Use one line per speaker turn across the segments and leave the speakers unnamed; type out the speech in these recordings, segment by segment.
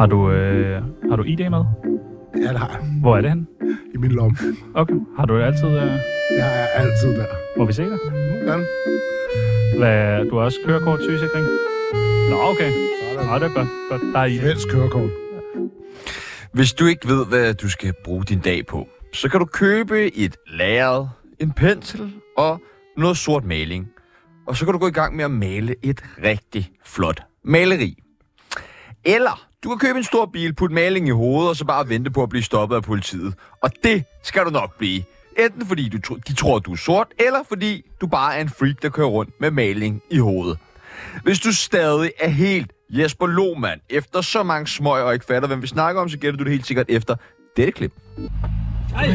Har du, øh, har du ID med?
Ja, det har jeg.
Hvor er det henne?
I min lomme.
Okay. Har du altid... Øh,
Jeg er altid der.
må vi se dig?
Nogle gange.
Hvad, du har også kørekort sygesikring? Nå, okay. Nå,
Sådan.
det er godt. godt. Der er ID.
Svensk kørekort.
Hvis du ikke ved, hvad du skal bruge din dag på, så kan du købe et lærred, en pensel og noget sort maling. Og så kan du gå i gang med at male et rigtig flot maleri. Eller du kan købe en stor bil, putte maling i hovedet og så bare vente på at blive stoppet af politiet. Og det skal du nok blive. Enten fordi du tro- de tror, du er sort, eller fordi du bare er en freak, der kører rundt med maling i hovedet. Hvis du stadig er helt Jesper Lohmann, efter så mange smøg og ikke fatter, hvem vi snakker om, så gætter du det helt sikkert efter dette klip.
Hej. Er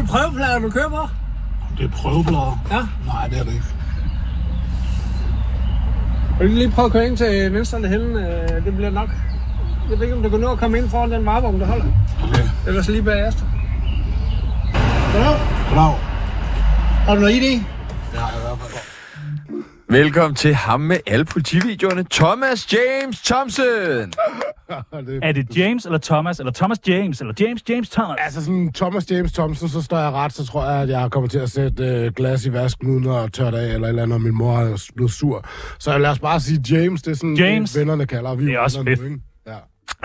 det prøveplader, du køber?
Det er prøveblader.
Ja.
Nej, det er det ikke.
Vil du lige prøve at køre ind til venstre eller henne? Øh, Det bliver nok. Jeg ved ikke, om du kan nå at komme ind foran den marvogn, der holder.
Okay.
Ellers lige bagefter.
Goddag.
Har du noget ID?
Velkommen til ham med alle politivideoerne, Thomas James Thompson.
Er det James eller Thomas? Eller Thomas James? Eller James James Thomas?
Altså sådan Thomas James Thompson, så står jeg ret, så tror jeg, at jeg kommer til at sætte øh, glas i vasken uden at tørre det af, eller et eller andet, og min mor er blevet sur. Så lad os bare sige James, det er sådan,
James.
det, vennerne kalder. Vi
Det er også
venner nu,
fedt.
ikke? Ja.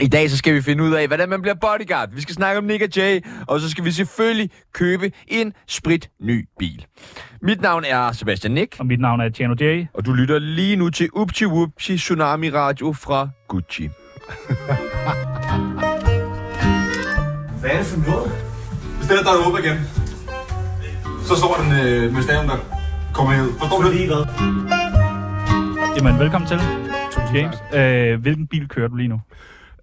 I dag så skal vi finde ud af, hvordan man bliver bodyguard. Vi skal snakke om Nick og Jay, og så skal vi selvfølgelig købe en sprit ny bil. Mit navn er Sebastian Nick,
Og mit navn er Tjano J.
og du lytter lige nu til Upti Wupti Tsunami Radio fra Gucci.
Hvad er det for noget? Bestil dig åben igen. Så står den øh, med staven, der kommer ud. Forstår du det? Hvad?
Jamen, velkommen til. James, øh, hvilken bil kører du lige nu?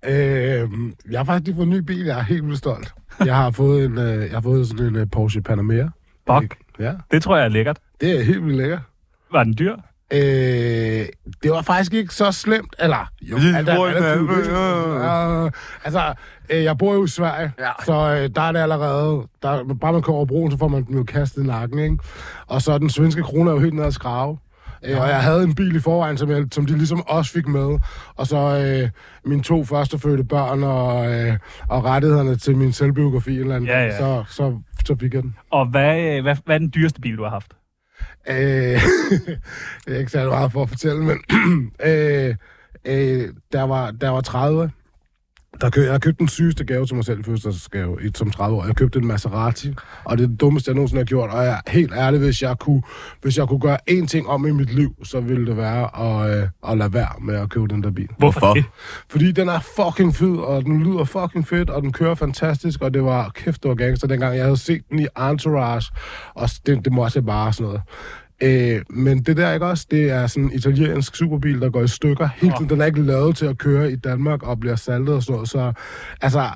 Øh, jeg har faktisk lige fået en ny bil, jeg er helt vildt stolt. Jeg har fået, en, øh, jeg har fået sådan en øh, Porsche Panamera.
Fuck,
Ja,
det tror jeg er lækkert.
det er helt vildt lækker.
Var den dyr?
Øh, det var faktisk ikke så slemt, eller... Jo,
Lige
alt er
hvor i
relativt,
Malmø,
ikke?
ja.
Øh, altså, øh, jeg bor jo i Sverige,
Ja.
så øh, der er det allerede... Der, bare man kommer over broen, så får man den jo kastet i nakken, ikke? Og så er den svenske krone er jo helt nede at skrave. Øh, og jeg havde en bil i forvejen, som, jeg, som de ligesom også fik med. Og så øh, mine to førstefødte børn og, øh, og rettighederne til min selvbiografi eller andet.
Ja, ja.
Så, så, så fik jeg den.
Og hvad, øh, hvad, hvad er den dyreste bil, du har haft?
Øh, det er ikke særlig meget for at fortælle, men øh, øh, der, var, der var 30. Der køb, jeg købte den sygeste gave til mig selv i fødselsdagsgave i- som 30 år. Jeg købte en Maserati, og det er det dummeste, jeg nogensinde har gjort. Og jeg er helt ærlig, hvis jeg kunne, hvis jeg kunne gøre én ting om i mit liv, så ville det være at, øh, at lade være med at købe den der bil.
Hvorfor?
det?
Fordi den er fucking fed, og den lyder fucking fedt, og den kører fantastisk, og det var kæft, det var gangster dengang. Jeg havde set den i Entourage, og s- det, det måtte jeg bare og sådan noget. Øh, men det der, ikke også? Det er sådan en italiensk superbil, der går i stykker hele tiden. Den er ikke lavet til at køre i Danmark og bliver saltet og sådan noget. Så altså,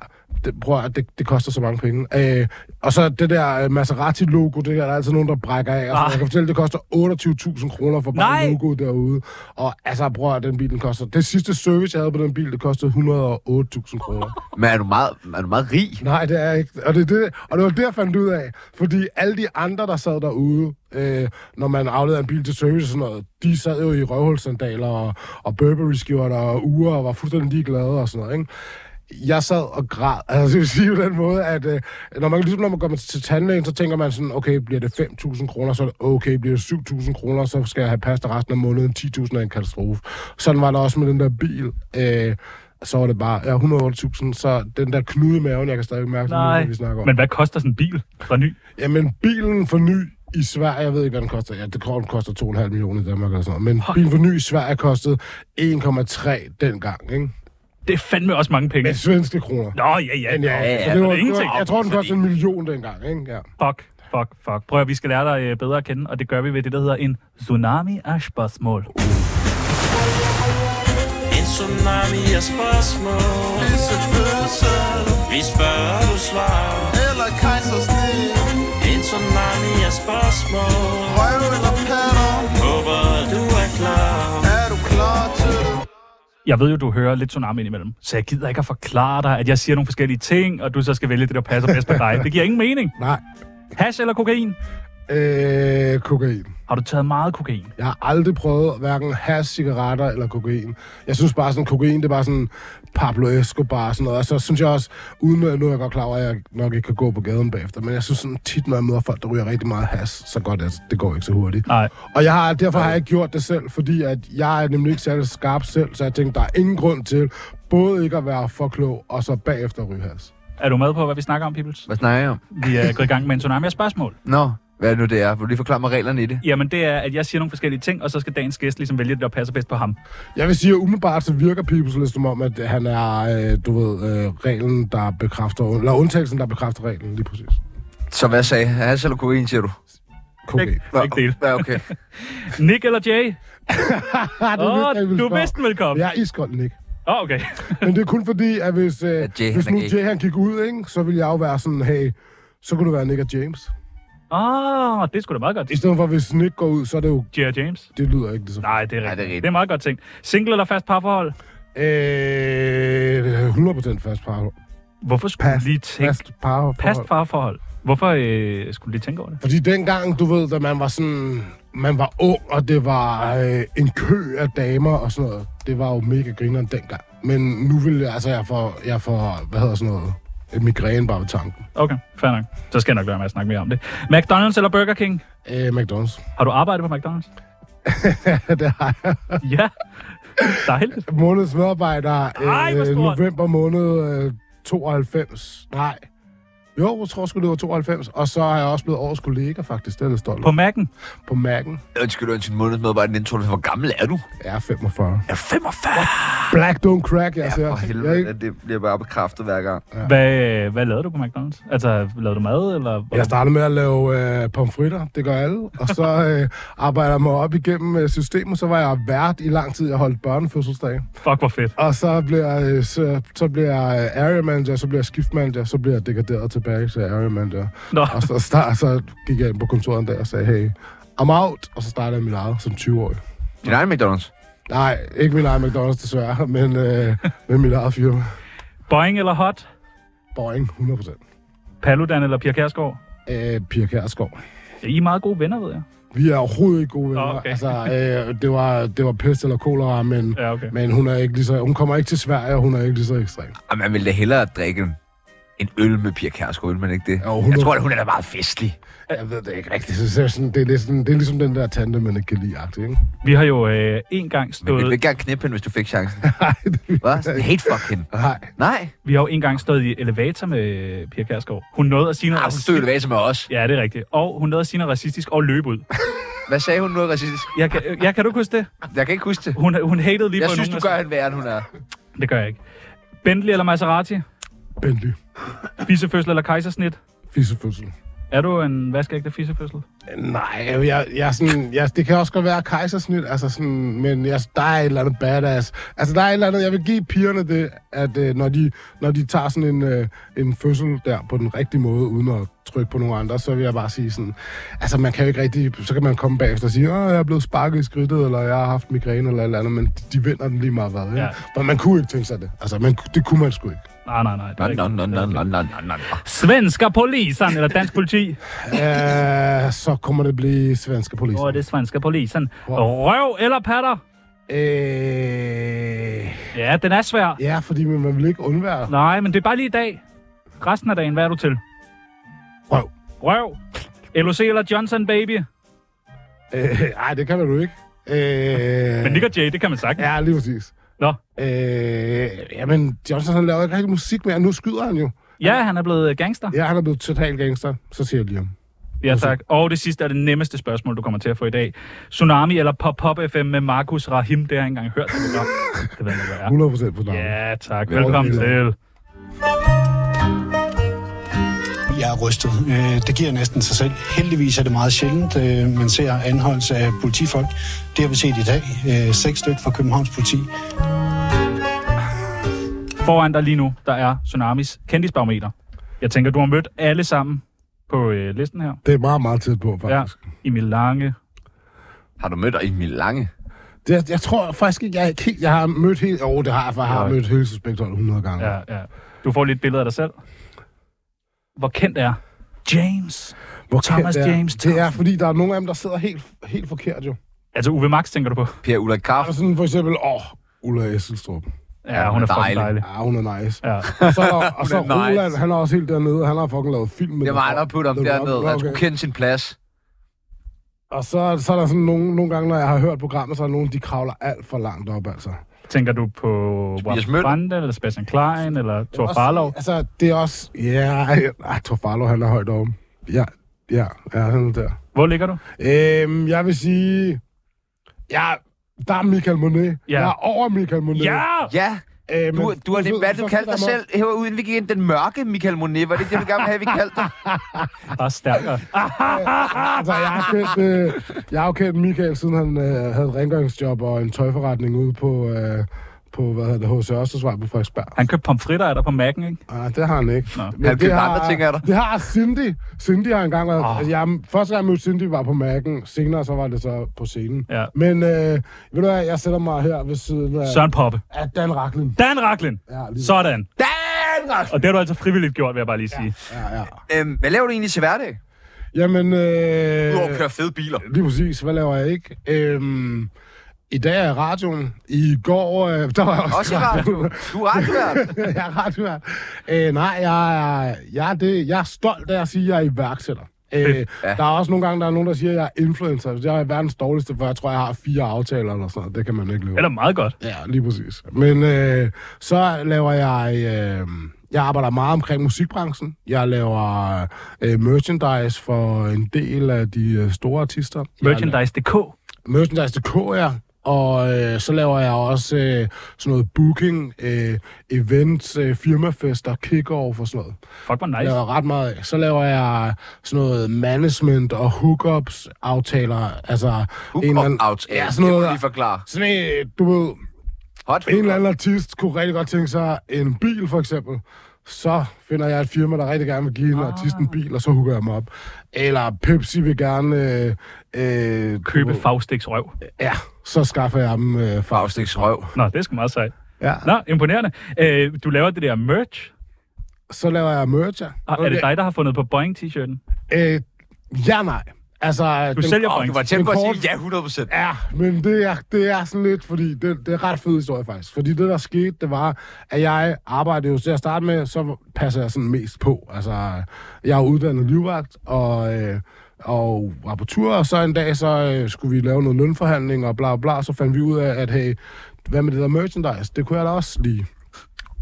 det, prøv at, høre, det, det koster så mange penge. Øh, og så det der øh, Maserati-logo, det er der altid nogen, der brækker af. Altså,
Ah.
jeg kan fortælle, det koster 28.000 kroner for bare
Nej.
logo logoet derude. Og altså, prøv at høre, den bil, den koster... Det sidste service, jeg havde på den bil, det kostede 108.000 kroner.
Men er du meget, er du meget rig?
Nej, det er ikke. Og det, er det, og det var det, jeg fandt ud af. Fordi alle de andre, der sad derude, øh, når man afleverede en bil til service og sådan noget, de sad jo i røvhulsandaler og, og Burberry-skjorter og uger og var fuldstændig ligeglade og sådan noget, ikke? Jeg sad og græd. Altså, det vil sige på den måde, at øh, når man, ligesom når man går til tandlægen, så tænker man sådan, okay, bliver det 5.000 kroner, så er det okay, bliver det 7.000 kroner, så skal jeg have pasta resten af måneden, 10.000 er en katastrofe. Sådan var det også med den der bil. Øh, så var det bare ja, 108.000, så den der knude i maven, jeg kan stadig mærke,
Nej.
hvad vi snakker om.
Men hvad koster sådan en bil fra ny?
Jamen, bilen for ny i Sverige, jeg ved ikke, hvad den koster. Ja, det den koster 2,5 millioner i Danmark eller sådan noget. Men bilen for ny i Sverige kostede 1,3 dengang, ikke?
Det er fandme også mange penge.
Med svenske kroner.
Nå, ja, ja.
Men ja,
ja,
så det
men
det
var,
er
det
ingenting.
var, jeg tror, den kostede en million dengang, ikke? Ja.
Fuck, fuck, fuck. Prøv at, vi skal lære dig øh, bedre at kende, og det gør vi ved det, der hedder en tsunami af spørgsmål.
En tsunami af spørgsmål Vi spørger, du svarer
Eller kejsersnit
En tsunami af spørgsmål
Røv eller patter
Håber, du er klar
Er du klar til det?
Jeg ved jo, du hører lidt tsunami indimellem, så jeg gider ikke at forklare dig, at jeg siger nogle forskellige ting, og du så skal vælge det, der passer bedst på dig. Det giver ingen mening.
Nej.
Hash eller kokain?
Øh, kokain.
Har du taget meget kokain?
Jeg har aldrig prøvet hverken hash, cigaretter eller kokain. Jeg synes bare sådan, kokain, det er bare sådan Pablo Escobar og sådan noget. Og så synes jeg også, uden at nu er jeg godt klar over, at jeg nok ikke kan gå på gaden bagefter, men jeg synes sådan tit, når jeg møder folk, der ryger rigtig meget hash, så går det, det går ikke så hurtigt.
Nej.
Og jeg har, derfor har jeg ikke gjort det selv, fordi at jeg er nemlig ikke særlig skarp selv, så jeg tænkte, der er ingen grund til både ikke at være for klog, og så bagefter ryge hash.
Er du med på, hvad vi snakker om, Peoples?
Hvad snakker jeg om?
Vi er gået i gang med en tsunami af spørgsmål.
Nå, hvad er det nu, det er? Vil du lige forklare mig reglerne i det?
Jamen, det er, at jeg siger nogle forskellige ting, og så skal dagens gæst ligesom vælge det, der passer bedst på ham.
Jeg vil sige, at umiddelbart så virker Peoples lidt som om, at han er, øh, du ved, øh, reglen, der bekræfter, eller undtagelsen, der bekræfter reglen, lige præcis.
Så hvad sagde jeg? Hash eller kokain, siger du?
Kokain.
Ikke, ikke del.
Ja, okay.
Nick eller Jay?
Ah,
Åh,
vidste jeg, I ville
du er
spørge.
bedst velkommen.
Jeg er iskold, Nick.
Åh, oh, okay.
Men det er kun fordi, at hvis, øh,
At Jay,
hvis
han
nu
er gay.
Jay han gik ud, ikke, så ville jeg jo være sådan, hey, så kunne du være Nick og James.
Åh, oh, det er sgu da meget godt.
I stedet for, hvis Nick går ud, så er det jo...
Jay og James?
Det lyder ikke det så.
Nej, det er
Nej,
rigtigt.
det er rigtigt.
det er meget godt ting. Single eller fast parforhold?
Øh, 100% fast par.
Hvorfor skulle
Pas.
du lige tænke...
Fast par.
Fast parforhold. Hvorfor øh, skulle du lige tænke over det?
Fordi dengang, du ved, da man var sådan... Man var ung, og det var øh, en kø af damer og sådan noget. Det var jo mega grineren dengang. Men nu vil jeg, altså, jeg får, jeg får hvad hedder sådan noget, et migræne bare ved tanken.
Okay, fair nok. Så skal jeg nok lade med at snakke mere om det. McDonald's eller Burger King?
Øh, McDonald's.
Har du arbejdet på McDonald's?
det har jeg.
ja. Dejligt.
Månedens medarbejder.
Ej, hvor
øh,
stort.
november måned øh, 92. Nej. Jo, jeg tror sgu, det var 92. Og så har jeg også blevet årets kollega, faktisk. Det er jeg lidt stolt
På
på,
Mac'en?
på Mac'en.
Undskyld, undskyld, månedsmedarbejder, den tror du, hvor gammel er du?
Jeg er 45.
Jeg er 45!
Black don't crack, jeg ser.
Ja, for
Jeg, er
helvede,
ikke-
det bliver bare bekræftet hver gang.
Hvad, hvad lavede du på McDonald's? Altså, lavede du mad, eller?
jeg startede med at lave øh, pomfritter, det gør alle. Og så øh, arbejder jeg mig op igennem øh, systemet, så var jeg vært i lang tid, jeg holdt børnefødselsdag.
Fuck, hvor fedt.
Og så bliver jeg, øh, så, så bliver jeg øh, area manager, så bliver jeg skift manager, så bliver jeg degraderet tilbage til area manager.
Nå,
Og så, start, så gik jeg ind på kontoret en dag og sagde, hey, I'm out. Og så startede jeg mit eget som 20-årig.
Din egen McDonald's?
Nej, ikke min egen McDonald's desværre, men, øh, men mit eget firma.
Boeing eller Hot?
Boeing, 100%.
Paludan eller Pia Kærsgaard?
Øh, Pia Kærsgaard.
Ja, I er meget gode venner, ved jeg.
Vi er overhovedet ikke gode venner.
Nå, okay.
Altså, øh, det, var, det var pest eller kolera, men,
Ja, okay.
men hun, er ikke lige så, hun kommer ikke til Sverige, og hun er ikke lige så ekstrem.
Og man ville da hellere drikke en, en øl med Pia Kærsgaard, men ikke det?
Jo, hun
jeg
er-
tror, at hun er da meget festlig.
Jeg ved det ikke rigtigt. Så, så, sådan, det, er lidt sådan, det er ligesom den der tante, man ikke kan lide, agtig, ikke?
Vi har jo øh, en gang
Men ville du
stået,
ikke gerne knippe hende, hvis du fik chancen?
Nej, det,
Hvad? Sådan, Hate fuck hende.
nej.
Nej,
vi har jo en gang stået i elevator med øh, Pia Kærsgaard. Hun nåede at sige noget...
ah, hun stod i
racistisk-
elevator med os.
Ja, det er rigtigt. Og hun nåede at sige noget racistisk og løbe ud.
Hvad sagde hun noget racistisk?
Jeg kan, jeg, kan du ikke huske det?
Jeg kan ikke huske det.
Hun, hun hatede lige
Jeg
på
synes,
nogen.
du
og så-
gør hende værre, end hun er.
Det gør jeg ikke. Bentley eller Maserati?
Bentley.
Fissefødsel eller kejsersnit?
Fissefødsel.
Er du en vaskeægte fissefødsel?
Nej, jeg, jeg, jeg, er sådan, jeg, det kan også godt være kejsersnit, altså sådan, men jeg, der er et eller andet badass. Altså, der er et eller andet, jeg vil give pigerne det, at øh, når, de, når de tager sådan en, øh, en fødsel der på den rigtige måde, uden at trykke på nogen andre, så vil jeg bare sige sådan, altså man kan jo ikke rigtig, så kan man komme bagefter og sige, åh, jeg er blevet sparket i skridtet, eller jeg har haft migræne, eller et eller andet, men de, de vinder den lige meget hvad, ikke?
Ja.
Ja. Men man kunne ikke tænke sig det. Altså, man, det kunne man sgu ikke.
Nej, nej, nej. Det er
Nå,
ikke-
nå, nå, nå, nå, nå, nå, nå.
Svenska polisen, eller dansk politi.
Æh, Øh, så kommer det blive svenske politi.
Åh, det er svenska polisen. Røv eller patter?
Øh...
Ja, den er svær.
Ja, fordi man man vil ikke undvære
Nej, men det er bare lige i dag. Resten af dagen, hvad er du til?
røv.
Røv. LOC eller Johnson, baby.
Øh, ej, det kan man jo ikke. Øh,
Men Nick og Jay, det kan man sagtens.
Ja, lige præcis.
Nå.
Øh, jamen, Johnson han laver ikke rigtig musik mere. Nu skyder han jo.
Ja, han er blevet gangster.
Ja, han er blevet total gangster. Så siger jeg lige om.
Ja, tak. Og det sidste er det nemmeste spørgsmål, du kommer til at få i dag. Tsunami eller Pop-Pop FM med Markus Rahim. Det har jeg ikke engang hørt. Det, program. det ved jeg ikke, hvad er.
100 procent på navnet.
Ja, tak. Velkommen til.
Jeg er rystet. Øh, Det giver næsten sig selv. Heldigvis er det meget sjældent, øh, man ser anholdelse af politifolk. Det har vi set i dag. Øh, Seks stykker fra Københavns politi.
Foran dig lige nu, der er Tsunamis kendisbarometer. Jeg tænker, du har mødt alle sammen på øh, listen her.
Det er meget, meget tæt på,
Ja,
faktisk. Ja.
Emil Lange.
Har du mødt Emil Lange?
Det, jeg, jeg tror faktisk ikke, jeg, er ikke helt, jeg har mødt helt... Åh, oh, det har jeg, for jeg har
Nej.
mødt hele Suspekt 100 gange.
Ja, ja. Du får lidt billeder af dig selv. Hvor kendt er James.
Hvor
Thomas
det er,
James
Det er, fordi der er nogle af dem, der sidder helt, helt forkert jo.
Altså Uwe Max, tænker du på?
Per Ulla
Og
Kraft.
sådan for eksempel, åh, oh, Ulla Esselstrup.
Ja, hun er fucking
Dejlig.
dejlig.
Ja, hun er nice.
Ja.
Og så, er der- og så
Hun er nice.
Roland, han er også helt dernede. Han har fucking lavet film med
Det var mig, der putte ham
The Rock.
dernede. Han
Okay.
skulle kende sin plads.
Og så, så er der sådan nogle, nogle gange, når jeg har hørt programmet, så er der nogen, de kravler alt for langt op, altså.
Tænker du på
Tobias
Wap
Møller?
Brande, eller Sebastian Klein, eller Thor
Også-
Farlov?
Altså, det er også... Ja, yeah, Thor Farlow, han er højt oppe. Ja, ja, ja, han er der.
Hvor ligger du?
Øhm, jeg vil sige... Ja, der er Michael Monet.
Ja.
Jeg er over Michael Monet.
Ja!
Ja,
Øhm,
du, du har det, hvad du kaldte dig selv, her uden vi gik ind, den mørke Michael Monet. Var det ikke det, vi gerne ville have, vi kaldte dig?
Bare stærkere.
Altså, jeg har kendt, øh, jeg har jo kendt Michael, siden han øh, havde et rengøringsjob og en tøjforretning ude på, øh, på hvad hedder det, H.C. Ørstedsvej på Frederiksberg.
Han købte pomfritter af dig på Mac'en, ikke?
Ah, det har han ikke.
Nå.
Men
Han
det
købte
har-
andre ting af dig. Ah.
Det har Cindy. Cindy har engang været... Oh. Altså, jeg, første gang jeg mødte Cindy var på Mac'en. Senere så var det så på scenen.
Ja.
Men øh, ved du hvad, jeg sætter mig her ved siden af,
Søren Poppe.
af Dan Racklin.
Dan Raklin!
Ja, lige-
Sådan.
Danmark!
Og det har du altså frivilligt gjort, vil jeg bare lige sige.
Ja, ja.
Øhm, hvad laver du egentlig til hverdag?
Jamen, øh,
Udover at køre fede biler.
lige præcis. Hvad laver jeg ikke? Øhm, I dag er jeg i radioen. I går, øh, der var jeg også,
Også i radio. Du er radiovært.
jeg er radiovært. Øh, nej, jeg er, jeg, er det, jeg er stolt af at sige, at jeg er iværksætter. Øh, ja. Der er også nogle gange, der er nogen, der siger, at jeg er influencer. Jeg er verdens dårligste, for jeg tror, jeg har fire aftaler eller sådan noget. Det kan man ikke leve.
Det er da meget godt.
Ja, lige præcis. Men øh, så laver jeg... Øh, jeg arbejder meget omkring musikbranchen. Jeg laver øh, merchandise for en del af de øh, store artister. Jeg
Merchandise.dk.
merchandise.dk, ja. Og øh, så laver jeg også øh, sådan noget booking, øh, events, øh, firmafester, kick-off og sådan noget.
Fuck, hvor
Jeg
nice.
laver ret meget af. Så laver jeg sådan noget management og hookups aftaler. Altså, en eller anden-
Hookup-aftale.
Ja, sådan
Det må du
noget.
lige forklare.
Sådan en, du ved,
Hot.
en eller anden artist kunne rigtig godt tænke sig en bil, for eksempel. Så finder jeg et firma, der rigtig gerne vil give en ah. artist en bil, og så hooker jeg mig op. Eller Pepsi vil gerne... Øh, øh, du
Købe
ved-
Fagstiks røv.
Ja, så skaffer jeg dem øh, fra.
Fagstiks røv.
Nå, det er sgu meget sejt.
Ja.
Nå, imponerende. Øh, du laver det der merch.
Så laver jeg merch, ja.
Og Er det dig, der har fundet på Boeing-t-shirten?
Øh, ja, nej. Altså,
Du sælger
Åh,
Boeing.
du var tæt på at
Den
sige
korte-
ja 100%.
Ja, men det er, det er sådan lidt, fordi det, det er en ret fed historie faktisk. Fordi det, der skete, det var, at jeg arbejdede jo til at starte med, så passer jeg sådan mest på. Altså, jeg er uddannet livvagt, og, øh, og var på tur, og så en dag, så øh, skulle vi lave noget lønforhandling og bla bla, så fandt vi ud af, at hey, hvad med det der merchandise? Det kunne jeg da også lide.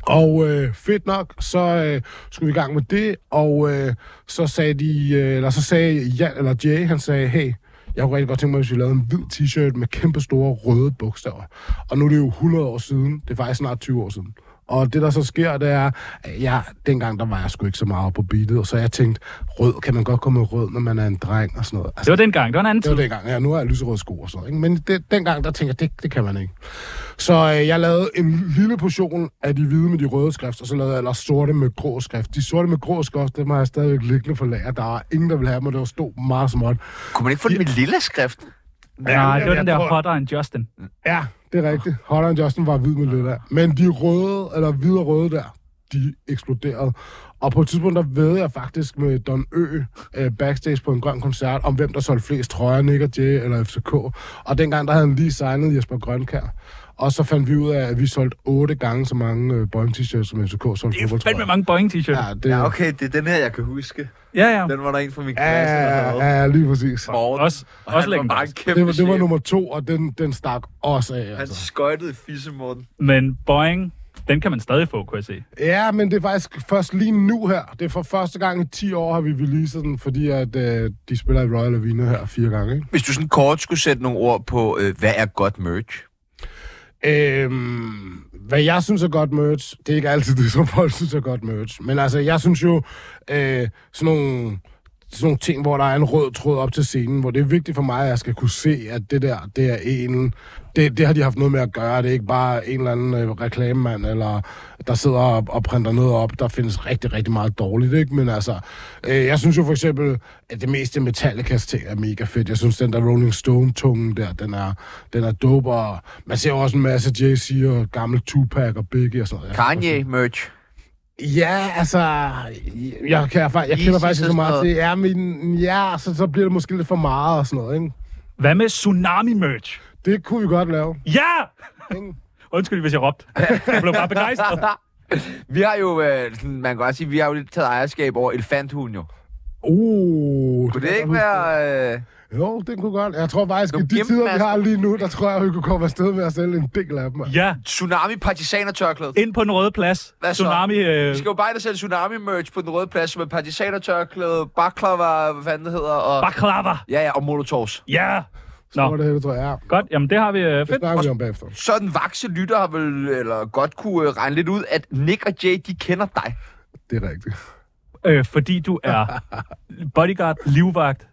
Og øh, fedt nok, så øh, skulle vi i gang med det, og øh, så sagde de, øh, eller så sagde Jan, eller Jay, han sagde, hey, jeg kunne rigtig godt tænke mig, hvis vi lavede en hvid t-shirt med kæmpe store røde bogstaver. Og nu er det jo 100 år siden, det er faktisk snart 20 år siden. Og det, der så sker, det er, at jeg, dengang der var jeg sgu ikke så meget oppe på beatet, og så jeg tænkte, rød, kan man godt komme med rød, når man er en dreng og sådan noget.
Det var dengang. Det var en anden
Det
tid.
var dengang. Ja, nu har jeg lyserøde sko og sådan noget. Ikke? Men det, dengang, der tænker jeg, det, det kan man ikke. Så øh, jeg lavede en lille portion af de hvide med de røde skrift, og så lavede jeg ellers sorte med grå skrift. De sorte med grå skrift, dem har jeg stadigvæk liggende for lager. Der var ingen, der ville have dem, og det var stå meget småt.
Kunne man ikke få det med lille skrift?
Nej, det var
jeg
den der
tror-
hotter end Justin.
Ja, det er rigtigt. Holland Justin var hvid med lidt af. Men de røde, eller hvide og røde der, de eksploderede. Og på et tidspunkt, der ved jeg faktisk med Don Ø øh, backstage på en grøn koncert, om hvem der solgte flest trøjer, Nick og Jay eller FCK. Og dengang, der havde han lige signet Jesper Grønkær. Og så fandt vi ud af, at vi solgte otte gange så mange øh, Boeing t-shirts, som FCK solgte
Det er fandme
fodboldtrøjer.
mange Boeing-t-shirts.
Ja, det,
Ja,
ja, okay.
okay, det er den her, jeg kan huske.
Ja, ja.
Den var der en fra min klasse, der havde.
ja, ja, lige præcis.
Morten.
Også-
Og
også
han var bare en
legendarisk.
kæmpe
Det var, det var
chef.
nummer to, og den, den stak også af.
Han
Altså.
skøjtede i fissemorden.
Men Boeing, den kan man stadig få, kunne jeg se.
Ja, men det er faktisk først lige nu her. Det er for første gang i 10 år, har vi releaset den, fordi at, øh, de spiller i Royal Arena her fire gange. Ikke?
Hvis du sådan kort skulle sætte nogle ord på, øh, hvad er godt merch?
Øhm, hvad jeg synes er godt merch, det er ikke altid det, som folk synes er godt merch. Men altså, jeg synes jo, øh, sådan nogle sådan nogle ting, hvor der er en rød tråd op til scenen, hvor det er vigtigt for mig, at jeg skal kunne se, at det der, det er en... Det, det har de haft noget med at gøre. Det er ikke bare en eller anden øh, reklamemand, eller der sidder og, og printer noget op. Der findes rigtig, rigtig meget dårligt, ikke? Men altså, øh, jeg synes jo for eksempel, at det meste Metallicas ting er mega fedt. Jeg synes, den der Rolling Stone-tungen der, den er, den er dope, og man ser jo også en masse Jay-Z og gammel Tupac og Biggie og sådan noget.
Kanye merch.
Ja, altså... Jeg, kan, jeg, jeg, jeg kender
Jesus
faktisk ikke så meget
og-
til... Ja, min, ja så, så bliver det måske lidt for meget og sådan noget, ikke?
Hvad med tsunami-merch?
Det kunne vi godt lave.
Ja! Undskyld, hvis jeg råbte. Jeg blev bare begejstret.
vi har jo, øh, sådan, man kan godt sige, vi har jo lidt taget ejerskab over elefanthunden jo.
Uh,
Kunne
kan
det
jeg
ikke
godt
være... Øh,
huske. Jo, det kunne godt. Jeg tror faktisk,
Nogle
at de tider, vi
gemmemasker.
har lige nu, der tror jeg, vi kunne komme afsted med at sælge en del af dem. mand.
Ja,
tsunami partisanertørklæde?
ind på den røde plads.
Hvad så?
Tsunami... Øh,
Vi skal jo bare ind og sælge tsunami-merch på den røde plads med partisanertørklæde, baklava, hvad fanden det hedder, og...
baklava.
Ja, ja, og molotovs.
Ja!
Så
Nå.
var det hele, tror jeg. Ja,
Godt, jamen det har vi øh,
det
fedt.
snakker vi om bagefter.
Så den vakse lytter har vel eller godt kunne øh, regne lidt ud, at Nick og Jay, de kender dig.
Det er rigtigt.
Øh, fordi du er bodyguard, livvagt.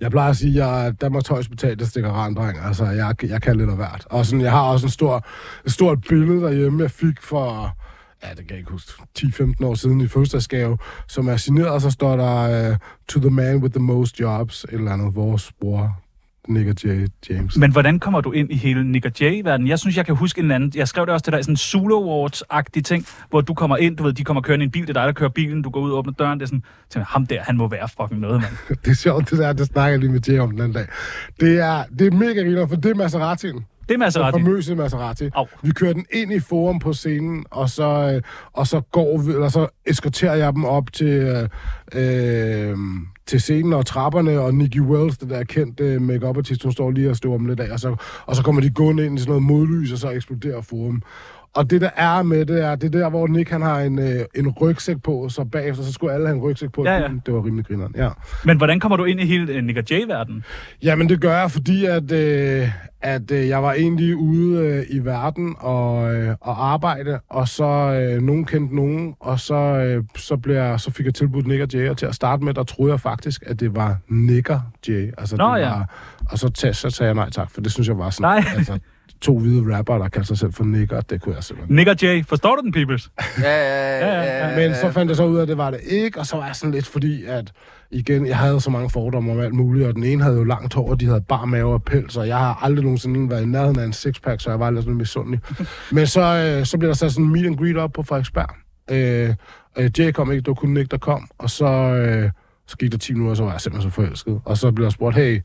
Jeg plejer at sige, at jeg er Danmarks højst betalte stikkerandreng. Altså, jeg, jeg kan lidt af hvert. Og sådan, jeg har også en stor, et stort billede derhjemme, jeg fik for... Ja, det kan jeg ikke huske. 10-15 år siden i fødselsdagsgave, som er signeret, og så står der uh, To the man with the most jobs, et eller andet, vores bror, Nick og Jay, James.
Men hvordan kommer du ind i hele Nick og Jay-verdenen? Jeg synes, jeg kan huske en eller anden... Jeg skrev det også til dig, sådan en Zulu Awards-agtig ting, hvor du kommer ind, du ved, de kommer kørende i en bil, det er dig, der kører bilen, du går ud og åbner døren, det er sådan, tænker, jeg, ham der, han må være fucking noget, mand.
Det er sjovt, det der, det snakker jeg lige med Jay om den anden dag. Det er, det er mega griner, for det er Maserati'en.
Det er Maserati.
Den famøse Maserati.
Au.
Vi kører den ind i forum på scenen, og så, øh, og så, går vi, eller så eskorterer jeg dem op til, øh, øh, til scenen og trapperne, og Nicky Wells, den der kendte make up artist hun står lige og støver om lidt af, og så, og så kommer de gående ind i sådan noget modlys, og så eksploderer forum. Og det, der er med det, er, det er der, hvor Nick han har en, øh, en rygsæk på, så bagefter så skulle alle have en rygsæk på. i
Ja, ja.
bilen. Det var rimelig grineren, ja.
Men hvordan kommer du ind i hele øh, Nick og Jay-verdenen?
Jamen, det gør jeg, fordi at, øh, at øh, jeg var egentlig ude øh, i verden og, øh, og arbejde, og så øh, nogen kendte nogen, og så, øh, så, blev jeg, så fik jeg tilbudt Nick og Jay, og til at starte med, der troede jeg faktisk, at det var Nick og Jay. Altså,
Nå,
det
ja.
var, og så, tag, så sagde jeg nej tak, for det synes jeg var sådan,
Nej.
altså, to hvide rapper, der kaldte sig selv for Nick, og det kunne jeg simpelthen
Nick og Jay, forstår du den, peoples?
Ja, ja, ja. ja, ja.
men så fandt jeg så ud af, at det var det ikke, og så var jeg sådan lidt, fordi at igen, jeg havde så mange fordomme om alt muligt, og den ene havde jo langt hår, og de havde bar mave og pels, og jeg har aldrig nogensinde været i nærheden af en sixpack, så jeg var lidt sådan misundelig. men så, øh, så blev der sat sådan en meet and greet op på Frederiksberg. Øh, øh, Jay kom ikke, det var kun Nick, der kom, og så, øh, så gik der 10 minutter, og så var jeg simpelthen så forelsket. Og så blev jeg spurgt, hey,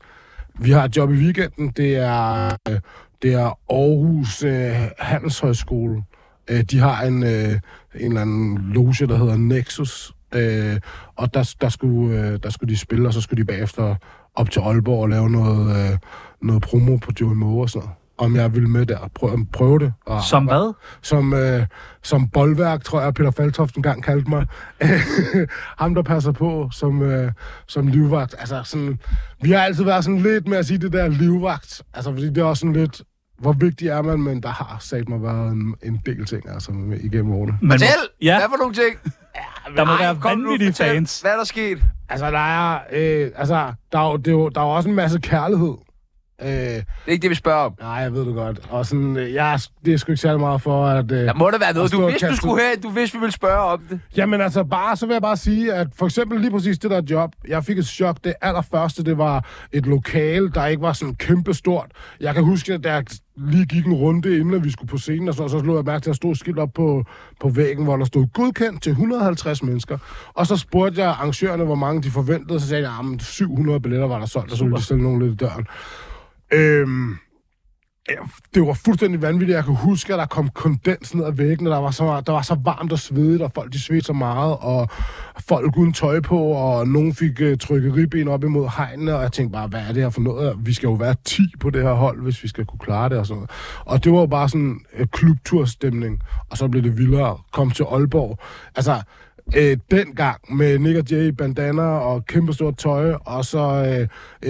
vi har et job i weekenden, det er, øh, det er Aarhus øh, Handelshøjskole. Øh, de har en, øh, en eller anden loge, der hedder Nexus, øh, og der, der, skulle, øh, der skulle de spille, og så skulle de bagefter op til Aalborg og lave noget, øh, noget promo på Joey Moe og sådan noget. Om jeg ville med der, prøve, prøve det. Og
Som hvad?
som, øh, som boldværk, tror jeg, Peter Faltoft engang kaldte mig. Ham, der passer på som, øh, som livvagt. Altså, sådan, vi har altid været sådan lidt med at sige det der livvagt. Altså, fordi det er også sådan lidt, hvor vigtig er man, men der har sagt mig været en, en del ting, altså, med- igennem årene.
Man
Fortæl!
Ja.
Ja. Hvad for nogle ting?
Der må
Ej,
være
kom nu,
vanvittige
fortæl.
fans.
Hvad er der sket?
Altså, der er, øh, altså, der er, jo, det er jo, der er jo også en masse kærlighed. Øh,
Det er ikke det, vi spørger om.
nej, jeg ved det godt. Og sådan, øh, jeg, er s- det er sgu ikke særlig meget for, at... Øh,
Der må der være noget.
stå
Du
og
vidste, du
kaste-
skulle have, du vidste, vi ville spørge om det.
Jamen altså bare, så vil jeg bare sige, at for eksempel lige præcis det der job, jeg fik et chok. Det allerførste, det var et lokale, der ikke var sådan kæmpestort. Jeg kan huske, at der lige gik en runde, inden at vi skulle på scenen, og så, så lå jeg mærke til, at der stod et skilt op på, på væggen, hvor der stod godkendt til 150 mennesker. Og så spurgte jeg arrangørerne, hvor mange de forventede, så sagde jeg, at 700 billetter var der solgt, og så ville de stille nogen lidt i døren. Øhm, ja, det var fuldstændig vanvittigt. Jeg kan huske, at der kom kondens ned ad væggen, og der var så, der var så varmt og svedigt, og folk de svedte så meget, og folk uden tøj på, og nogen fik uh, trykket ribben op imod hegnene, og jeg tænkte bare, hvad er det her for noget? Vi skal jo være 10 på det her hold, hvis vi skal kunne klare det og sådan noget. Og det var jo bare sådan uh, klubturstemning, og så blev det vildere. Kom til Aalborg. Altså, øh, dengang med Nick og Jay i bandana og kæmpestort tøj, og så øh,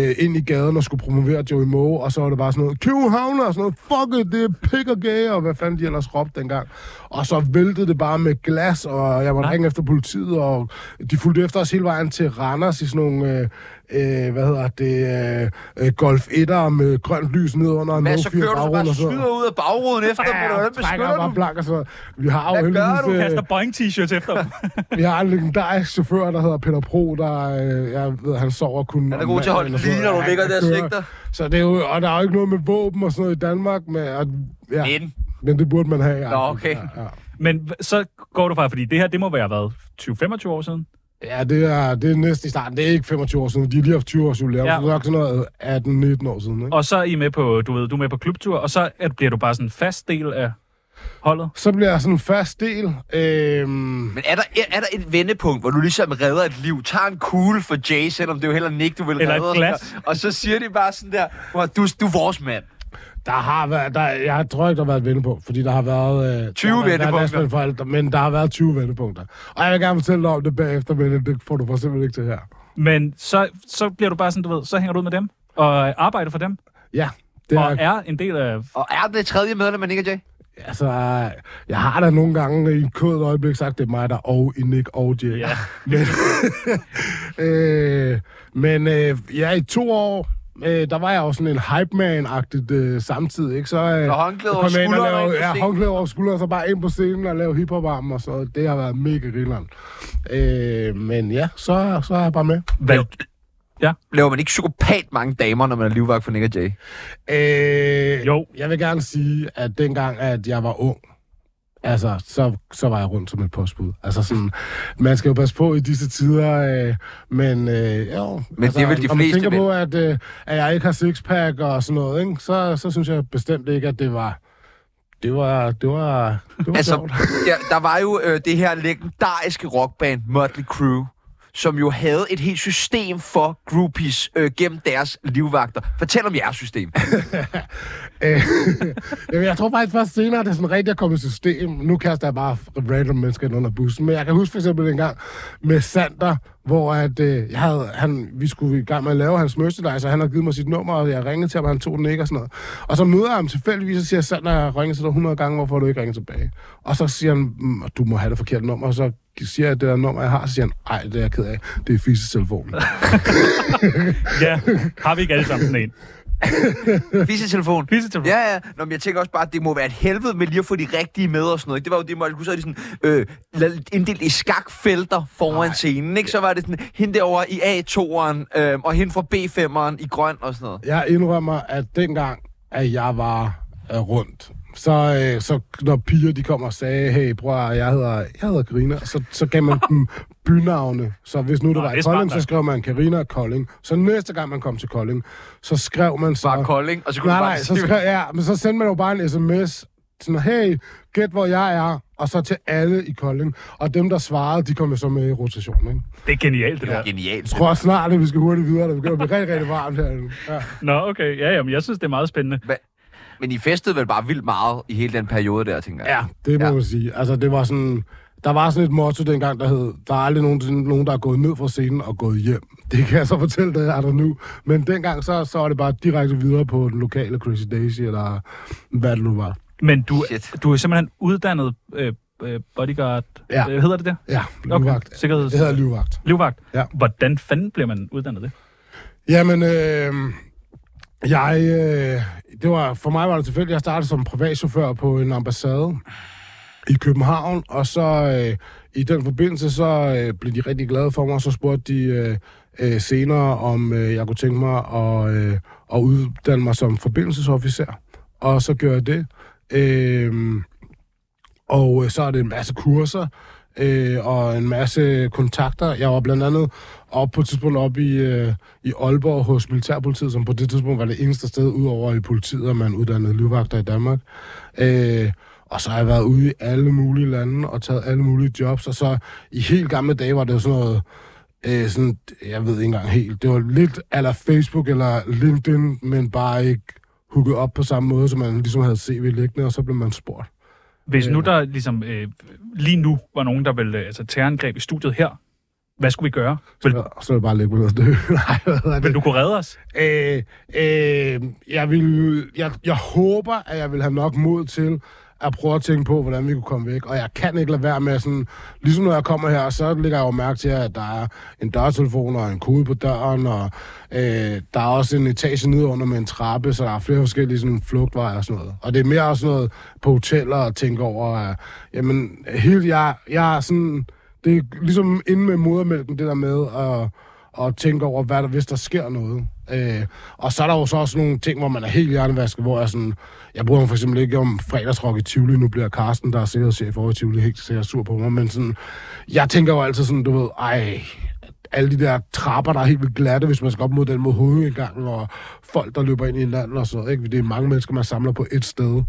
øh, ind i gaden og skulle promovere Joey Moe, og så var det bare sådan noget, København og sådan noget, fuck it, det er pik og gay, og hvad fanden de ellers råbte dengang. Og så væltede det bare med glas, og jeg måtte ringe efter politiet, og de fulgte efter os hele vejen til Randers i sådan nogle, øh, øh, hvad hedder det, øh, øh, Golf 1'er med grønt lys ned under en
Hvad, så
no-fire
kører du så
bagruden
bare
og sådan
skyder
noget.
ud af bagruden efter dem, eller hvordan
Trækker
beskytter
bare
du?
blank og sådan noget. Vi har jo
Hvad gør
heldigvis,
du?
øh,
Kaster Boeing-t-shirts efter dem.
vi har en legendarisk chauffør, der hedder Peter Pro, der, øh, jeg ved, han sover kun...
Han er god til at holde lige, når du ligger der og sigter.
Så det er jo, og der er jo ikke noget med våben og sådan noget i Danmark, men, og, ja,
Men.
men det burde man have.
Nå, okay.
Ja, ja.
Men h- så går du fra, fordi det her, det må være været 20-25 år siden.
Ja, det er, det er næsten i starten. Det er ikke 25 år siden. De har lige haft 20 års jubilæum.
Ja.
Ja. Det er nok sådan noget 18-19 år siden. Ikke?
Og så er I med på, du ved, du er med på klubtur, og så er, bliver du bare sådan en fast del af holdet.
Så bliver jeg sådan en fast del. Øhm,
Men er der, er, er der et vendepunkt, hvor du ligesom redder et liv, tager en kugle for Jay, selvom det er jo heller Nick, du vil
Eller et
redde.
glas.
Og så siger de bare sådan der, "Bror, du, du er vores mand.
Der har været, der, jeg tror ikke, der har været et vendepunkt, fordi der har været... Øh,
20
der har været- der har været
vendepunkter.
landsmænd For alt, men der har været 20 vendepunkter. Og jeg vil gerne fortælle dig om det bagefter, men det får du for simpelthen ikke til her.
Men så, så bliver du bare sådan, du ved, så hænger du ud med dem og arbejder for dem,
Ja, det
og
er,
er en del af...
Og er det tredje medlem af Nick og Jay?
altså, jeg har da nogle gange i et kodet øjeblik sagt, det er mig, der er og i Nick og Jay.
Ja.
Men, øh, men øh, ja, i to år, øh, der var jeg jo sådan en hype man-agtigt øh, samtidig, ikke? Så, øh,
Og håndklæde
så
over
kom jeg ind og
skulderen og
lavede-
ind på
Ja,
scenen.
håndklæde over skulderen, og så bare ind på scenen og lave hiphop og så det har været mega grilleren. Øh, men ja, så, så er jeg bare med.
Hvad?
Laver man ikke psykopat mange damer, når man er livvagt for Nick og Jay?
Øh,
Jo.
Jeg vil gerne sige, at dengang, at jeg var ung, altså, så, så var jeg rundt som et postbud. Altså sådan, man skal jo passe på i disse tider, øh, men øh, jo.
Men
altså,
det er vel de
når man
fleste
tænker
mænd.
på, at, øh, at jeg ikke har sixpack og sådan noget, ikke, så, så synes jeg bestemt ikke, at det var... Det var... Det var, det var
Altså,
sjovt.
ja, der var jo øh, det her legendariske rockband Motley Crue, som jo havde et helt system for groupies øh, gennem deres livvagter. Fortæl om jeres system.
Øh, Jamen, jeg tror faktisk først senere, at det er sådan rigtig er kommet i system. Nu kaster jeg bare random mennesker ind under bussen. Men jeg kan huske for eksempel en gang med Sander, hvor at, øh, jeg havde, han, vi skulle i gang med at lave hans merchandise, og han havde givet mig sit nummer, og jeg ringede til ham, og han tog den ikke og sådan noget. Og så møder jeg ham tilfældigvis og siger, Sander, jeg har ringet til dig 100 gange, hvorfor har du ikke ringet tilbage? Og så siger han, "Mm, du må have det forkerte nummer, og så siger jeg det der nummer, jeg har, så siger han, ej, det er jeg ked af, det er fisetelefonen.
Ja, har vi ikke alle sammen sådan en?
Vis telefon.
Pissetelefon.
Ja, ja. Nå, men jeg tænker også bare, at det må være et helvede med lige at få de rigtige med og sådan noget. Ikke? Det var jo det, Molly Cruz havde de sådan, øh, la- inddelt i skakfelter foran Ej. scenen. Ikke? Så var det sådan, hende derovre i A2'eren, øh, og hende fra B5'eren i grøn og sådan noget.
Jeg indrømmer, at dengang, at jeg var øh, rundt, så, øh, så når piger de kom og sagde, hey bror, jeg hedder, jeg hedder Karina, så, så gav man dem bynavne. Så hvis nu det
Nå,
var
det er
i
smart
Kolding, så
nok.
skrev man Karina og Kolding. Så næste gang man kom til Kolding, så skrev man så...
Bare Kolding, og så kunne
Nej,
du bare
nej, så, skrev, ja, men så sendte man jo bare en sms, sådan, hey, gæt hvor jeg er, og så til alle i Kolding. Og dem, der svarede, de kom jo så med i rotation, ikke?
Det er genialt, det der.
Genialt.
Jeg tror også snart, at vi skal hurtigt videre, det begynder at blive rigtig, rigtig varmt her nu. Ja.
Nå, okay. Ja, jamen, jeg synes, det er meget spændende.
Men I festede vel bare vildt meget i hele den periode der, tænker jeg.
Ja, det må
Ja.
ja. man sige. Altså, det var sådan... Der var sådan et motto dengang, der hed, der er aldrig nogen, nogen, der er gået ned fra scenen og gået hjem. Det kan jeg så fortælle dig, er der nu. Men dengang, så, så var det bare direkte videre på den lokale Crazy Daisy, eller hvad det nu var.
Men du,
Shit.
du er simpelthen uddannet øh, øh, bodyguard.
Ja.
Øh, hedder det det?
Ja, livvagt. Okay.
Sikkerheds...
Det hedder livvagt.
Livvagt.
Ja.
Hvordan fanden bliver man uddannet det?
Jamen, øh, jeg, øh, det var, for mig var det tilfældigt, jeg startede som privatchauffør på en ambassade i København, og så øh, i den forbindelse, så øh, blev de rigtig glade for mig, og så spurgte de øh, øh, senere, om øh, jeg kunne tænke mig at, øh, at uddanne mig som forbindelsesofficer, og så gjorde jeg det. Øh, og øh, så er det en masse kurser øh, og en masse kontakter. Jeg var blandt andet op på et tidspunkt op i, øh, i Aalborg hos Militærpolitiet, som på det tidspunkt var det eneste sted, udover i politiet, at man uddannede livvagter i Danmark. Øh, og så har jeg været ude i alle mulige lande og taget alle mulige jobs. Og så i helt gamle dage var det jo sådan noget øh, sådan, jeg ved ikke engang helt, det var lidt eller Facebook eller LinkedIn, men bare ikke hooket op på samme måde, som man ligesom havde CV liggende, og så blev man spurgt.
Hvis
Øh.
nu der ligesom, øh, lige nu var nogen, der ville øh, altså, terrorangreb i studiet her, hvad skulle vi gøre? Vil,
Så, så vil jeg bare lægge mig ned og dø. Nej, hvad hedder
vil
det?
du kunne redde os?
Øh, øh, jeg, vil, jeg, jeg håber, at jeg vil have nok mod til at prøve at tænke på, hvordan vi kunne komme væk. Og jeg kan ikke lade være med sådan... Ligesom når jeg kommer her, så lægger jeg jo mærke til, at der er en dørtelefon og en kode på døren, og øh, der er også en etage nedenunder med en trappe, så der er flere forskellige sådan, flugtveje og sådan noget. Og det er mere også sådan noget på hoteller at tænke over, at, jamen, hele, jeg, jeg er sådan... Det er ligesom inde med modermælken, det der med at og tænke over, hvad der, hvis der sker noget. Øh, og så er der jo så også nogle ting, hvor man er helt hjernevasket, hvor jeg sådan, jeg bruger for eksempel ikke om fredagsrock i Tivoli, nu bliver Carsten, der er sikkerhedschef over i Tivoli, helt sikkert sur på mig, men sådan, jeg tænker jo altid sådan, du ved, ej, alle de der trapper, der er helt vildt glatte, hvis man skal op mod den mod hovedindgangen, og folk, der løber ind i hinanden og sådan noget, ikke? Det er mange mennesker, man samler på et sted.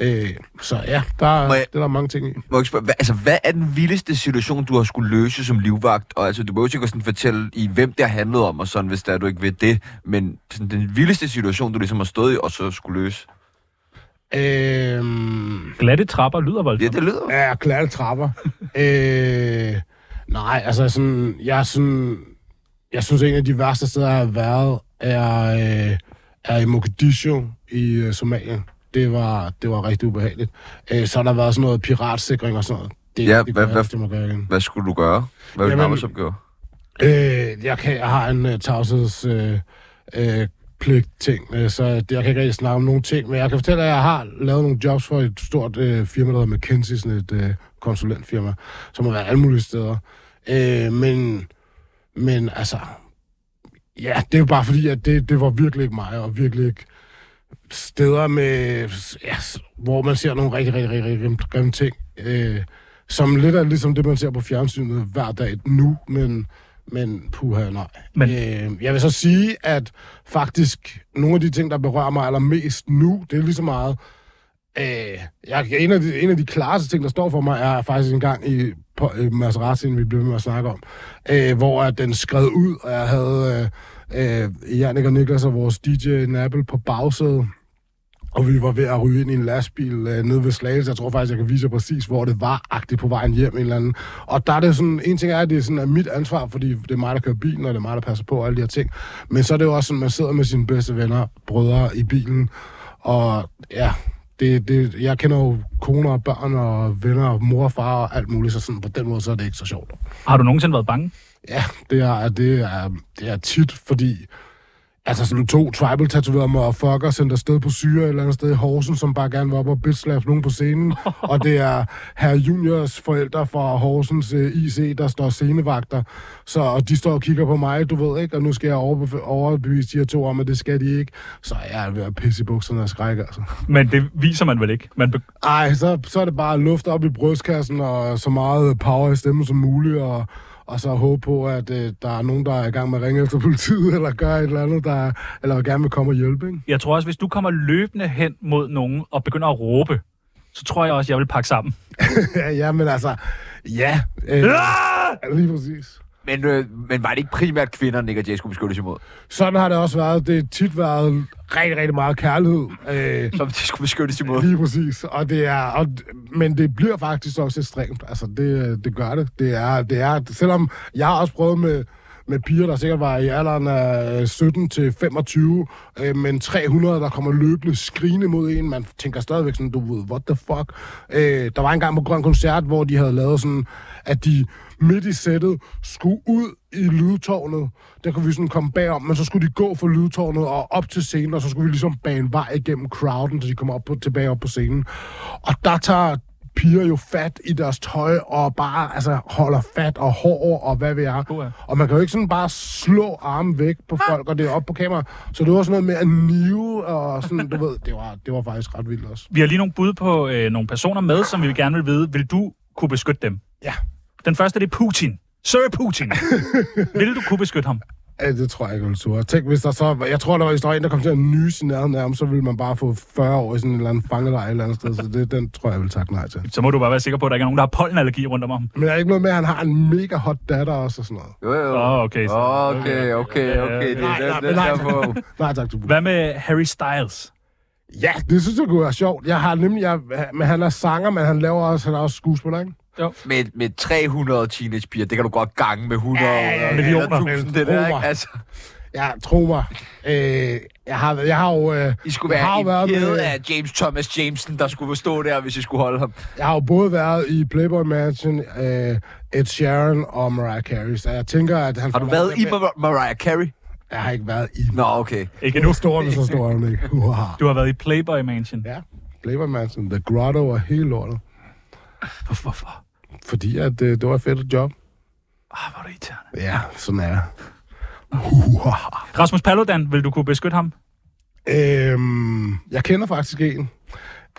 Øh, så ja, der, er-
Må jeg-
det er der mange ting i.
Må jeg ikke spørge, hvad, altså, hvad er den vildeste situation, du har skulle løse som livvagt? Og altså, du må jo ikke sådan fortælle i, hvem det har handlet om, og sådan, hvis der du ikke ved det. Men sådan, den vildeste situation, du ligesom har stået i, og så skulle løse.
Øh,
Glatte trapper lyder
Ja,
voldsomt.
det lyder.
ja, glatte trapper. øh, nej, altså sådan, jeg er sådan, jeg synes, en af de værste steder, jeg har været, er, øh, er i Mogadishu i øh, Somalia. Det var, det var rigtig ubehageligt. Øh, så har der været sådan noget piratsikring og sådan noget. Det,
Ja,
det
hvad-
gør jeg
hvad-
ikke til Mogadishu.
Hvad skulle du gøre? Hvad ville
Jamen-
din arbejdsopgave?
Øh, jeg, kan, jeg har en uh, tavsheds øh, øh, pligt ting, øh, så det, jeg kan ikke rigtig snakke om nogle ting, men jeg kan fortælle, at jeg har lavet nogle jobs for et stort øh, firma, der hedder McKinsey, sådan et øh, konsulentfirma, som har været alle mulige steder. Øh, men, men altså, ja, det er jo bare fordi, at det, det var virkelig ikke mig, og virkelig ikke steder med, ja, s- hvor man ser nogle rigtig, rigtig, rigtig, rigtig grimme- grimme ting, øh, som lidt er ligesom det, man ser på fjernsynet hver dag nu, men, men puha, nej.
Men-
Men... Øh, jeg vil så sige, at faktisk nogle af de ting, der berører mig allermest nu, det er lige så meget, øh, jeg, en, af de, en af de klareste ting, der står for mig, er faktisk en gang i på, øh, Maseratin, vi blev ved med at snakke om, øh, hvor at den skred ud, og jeg havde øh, øh, Jannik og Niklas og vores DJ Nappel på bagsædet, og vi var ved at ryge ind i en lastbil øh, nede ved Slagelse. Jeg tror faktisk, jeg kan vise jer præcis, hvor det var, agtigt på vejen hjem en eller anden. Og der er det sådan, en ting er, at det er sådan, at mit ansvar, fordi det er mig, der kører bilen, og det er mig, der passer på og alle de her ting. Men så er det jo også sådan, at man sidder med sine bedste venner, brødre i bilen. Og ja, det, det, jeg kender jo koner og børn og venner og mor og far og alt muligt, så sådan, på den måde så er det ikke så sjovt.
Har du nogensinde været bange?
Ja, det er, det er, det er tit, fordi altså sådan to tribal tatoverer mig og fucker sendt afsted på syre et eller andet sted i Horsen, som bare gerne vil op og bitslap nogen på scenen. og det er herr Juniors forældre fra Horsens øh, IC, der står scenevagter. Så og de står og kigger på mig, du ved ikke, og nu skal jeg overbe- overbevise de her to om, at det skal de ikke. Så jeg er ved at pisse i bukserne og skrække, altså.
Men det viser man vel ikke. Man be-
Ej, så, så er det bare luft op i brystkassen og så meget power i stemmen som muligt, og, og så håbe på, at øh, der er nogen, der er i gang med at ringe efter politiet, eller gøre et eller andet, der, eller gerne vil komme og hjælpe, ikke?
jeg tror også, hvis du kommer løbende hen mod nogen og begynder at råbe, så tror jeg også, jeg vil pakke sammen.
ja, ja, men altså, ja. Øh, ja! Lige præcis.
Men, øh, men var det ikke primært kvinder, Nick og Jay skulle beskyttes imod?
Sådan har det også været. Det har tit været rigtig, rigtig meget kærlighed. Øh,
Som de skulle beskyttes imod?
Lige præcis. Og det er, og, men det bliver faktisk også ekstremt. Altså, det, det gør det. Det er, det er, selvom jeg har også prøvet med, med piger, der sikkert var i alderen af 17 til 25, øh, men 300, der kommer løbende skrigende mod en. Man tænker stadigvæk sådan, du ved, what the fuck. Øh, der var en gang på Grøn Koncert, hvor de havde lavet sådan, at de midt i sættet skulle ud i lydtårnet. Der kunne vi sådan komme bagom, men så skulle de gå fra lydtårnet og op til scenen, og så skulle vi ligesom bane vej igennem crowden, så de kom op på, tilbage op på scenen. Og der tager piger jo fat i deres tøj, og bare altså, holder fat og hår, og hvad ved jeg.
Uha.
Og man kan jo ikke sådan bare slå armen væk på folk, og det er op på kamera. Så det var sådan noget med at nive, og sådan, du ved, det var, det var faktisk ret vildt også.
Vi har lige nogle bud på øh, nogle personer med, som vi gerne vil vide. Vil du kunne beskytte dem?
Ja.
Den første, det er Putin. Sir Putin. vil du kunne beskytte ham?
Ja, det tror jeg ikke, jeg ville turde. Tænk, hvis der så... Jeg tror, der var, hvis der var en, der kom til at nyse i nærheden af ham, så ville man bare få 40 år i sådan en eller anden fangelejr et eller andet sted. Så det, den tror jeg, jeg vil takke nej til.
Så må du bare være sikker på, at der ikke er nogen, der har pollenallergi rundt om ham.
Men der er ikke noget med, at han har en mega hot datter også og sådan noget.
Jo, jo.
Åh, okay, så-
Okay, okay,
ja, ja.
okay. Det
Nej,
er
nej,
den, den
nej.
der på.
Nej, tak til
Hvad med Harry Styles?
Ja, det synes jeg kunne være sjovt. Jeg har nemlig... Jeg, men han er sanger, men han laver også, han er også skuespiller, ikke?
Med, med 300 teenagepiger, det kan du godt gange med 100 ja, ja, ja,
Millioner.
Det der,
Kroner.
ikke? Altså,
Ja, tro mig. Øh, jeg, har, jeg har jo... Øh,
I skulle
jeg har
være
jo
en
været
kæde
med-
af James Thomas Jameson, der skulle stå der, hvis I skulle holde ham.
Jeg har jo både været i Playboy Mansion, øh, Ed Sheeran og Mariah Carey, så jeg tænker, at han...
Har du været i Mar- Mariah Carey?
Jeg har ikke været i...
Nå, okay.
Ikke
Nu
nu.
står den, så står den ikke. Uha.
Du har været i Playboy Mansion.
Ja, Playboy Mansion, The Grotto og hele lortet.
Hvor- Hvorfor?
Fordi at, øh, det var et fedt job.
Ah, hvor er det irriterende.
Ja, sådan er jeg.
Rasmus Paludan, vil du kunne beskytte ham,
Øhm, jeg kender faktisk en,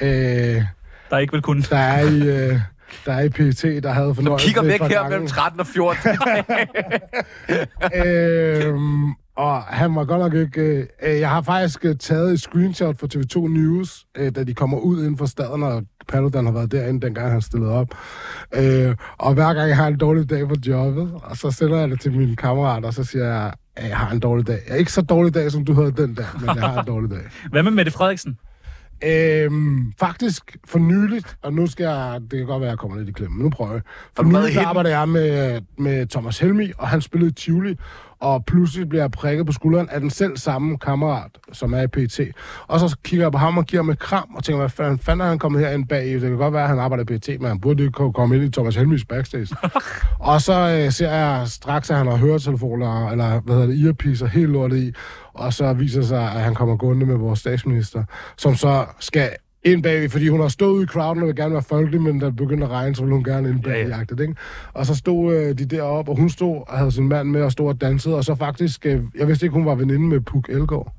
øh,
der ikke vil kunne?
der er i... Øh, der er i PT, der havde
Som
fornøjelse
kigger væk
fra
her
gangen.
mellem 13 og 14.
øhm, og han var godt nok ikke... Øh, øh, jeg har faktisk øh, taget et screenshot fra TV2 News, øh, da de kommer ud inden for staden, og Paludan har været derinde, dengang han stillede op. Øh, og hver gang jeg har en dårlig dag på jobbet, og så sender jeg det til mine kammerater, og så siger jeg, at jeg har en dårlig dag. Jeg er ikke så dårlig dag, som du havde den dag, men jeg har en dårlig dag.
Hvad med Mette Frederiksen?
Øhm, faktisk for nyligt, og nu skal jeg, det kan godt være, at jeg kommer lidt i klemme, men nu prøver jeg. For
du været
nyligt
i himlen?
arbejder jeg med, med Thomas Helmi, og han spillede i Tivoli, og pludselig bliver jeg prikket på skulderen af den selv samme kammerat, som er i PT. Og så kigger jeg på ham og giver ham et kram, og tænker, hvad fanden, fanden er han kommet herind bag? Det kan godt være, at han arbejder i PT, men han burde ikke kunne komme ind i Thomas Helmis backstage. og så øh, ser jeg straks, at han har høretelefoner, eller hvad hedder det, earpieces, helt lortet i. Og så viser det sig, at han kommer gående med vores statsminister, som så skal ind bagved, fordi hun har stået ude i crowden og vil gerne være folkelig, men da det begyndte at regne, så ville hun gerne ind bag ja, ja. ikke? Og så stod øh, de deroppe, og hun stod og havde sin mand med og stod og dansede, og så faktisk, øh, jeg vidste ikke, hun var veninde med Puk Elgård.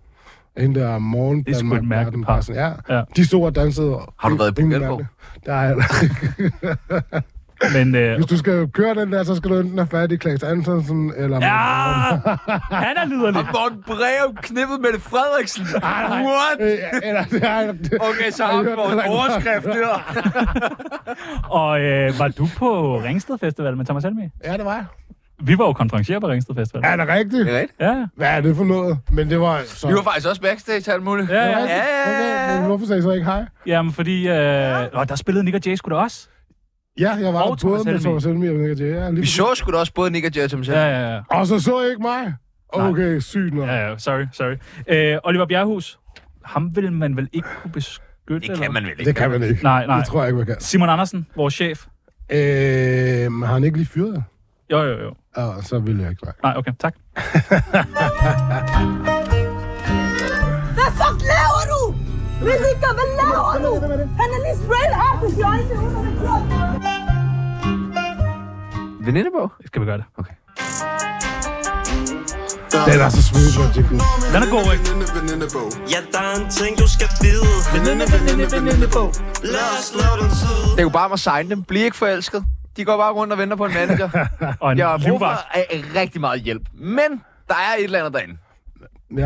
Hende der morgen,
Det er sgu et mærkeligt par.
Ja,
Ja.
ja, de stod og dansede. og-
Har du været i Puk
Ingen
Elgård?
mærke. Der er heller ikke.
Men, øh,
Hvis du skal køre den der, så skal du enten have fat i Klaas Antonsen, eller...
ja, han er liderlig.
Morten Breum knippet Mette Frederiksen. What?
Øh, eller,
Okay, så har vi fået en overskrift der.
Og øh, var du på Ringsted Festival med Thomas Helmi?
Ja, det var jeg.
Vi var jo konferencier på Ringsted Festival.
Er det rigtigt?
Det er rigtigt.
Ja, ja.
Hvad er det for noget? Men det var... Så...
Vi var faktisk også backstage og alt muligt.
Ja,
Ja,
ja.
ja, ja,
Okay,
ja.
men hvorfor sagde I så ikke hej?
Jamen, fordi... Øh, åh, der spillede Nick og Jay sgu da også.
Ja, jeg var
Og
og
Thomas
både med
Helmig.
Thomas Helmi og Nick Jay. Ja, lige...
Vi så sgu da også både Nick og Jerry Thomas.
Ja,
Ja.
ja, ja.
Og så så I ikke mig? Okay, sygt nok.
ja, ja sorry, sorry. Øh, Oliver Bjerghus, ham vil man vel ikke kunne beskytte?
Det
eller?
kan man vel ikke.
Det kan man ikke.
Nej, nej.
Det tror jeg ikke, man kan.
Simon Andersen, vores chef.
Øhm, har han ikke lige fyret jer?
Jo, jo, jo.
Ja, så ville jeg ikke være.
Nej, okay, tak.
Hvad fuck laver du? Rizika, hvad laver du? Han er lige sprayet artist i øjnene, hun har gjort.
Venindebog?
Skal vi gøre det?
Den er så smidt, man tænker.
Den er god, ikke?
Veninde, venindebog.
Ja, der er en ting, du skal vide
Veninde, veninde, venindebog.
Lad os slå den tid
Det er jo bare at signe dem. Bliv ikke forelsket. De går bare rundt og venter på en manager.
Og en
Jeg har brug for
livvagt.
øh, rigtig meget hjælp. Men der er et eller andet derinde.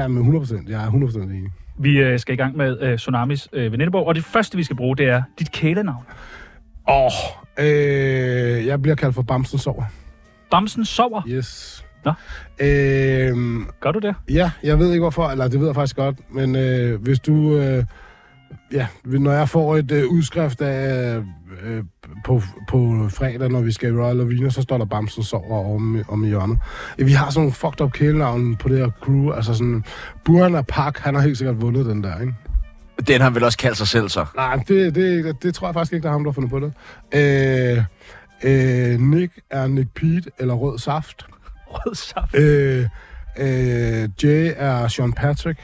Ja, men 100 procent. Jeg er 100 procent enig.
Vi øh, skal i gang med øh, Tsunamis øh, venindebog, og det første, vi skal bruge, det er dit kælenavn.
Åh, oh, øh, jeg bliver kaldt for Bamsen Sover.
Bamsen sover.
Yes.
Nå.
Øhm,
Gør du det?
Ja, jeg ved ikke hvorfor, eller det ved jeg faktisk godt, men øh, hvis du... Øh, ja, når jeg får et øh, udskrift af, øh, på, på fredag, når vi skal i Royal Arena, så står der Bamsen sover om, om i hjørnet. Øh, Vi har sådan nogle fucked up kælenavn på det her crew, altså sådan... Burhan Park, han har helt sikkert vundet den der, ikke?
Den har han vel også kaldt sig selv, så.
Nej, det, det, det tror jeg faktisk ikke, der er ham, der har fundet på det. Øh, øh, Nick er Nick Pete eller Rød Saft.
Rød saft.
Øh, øh, Jay er Sean Patrick.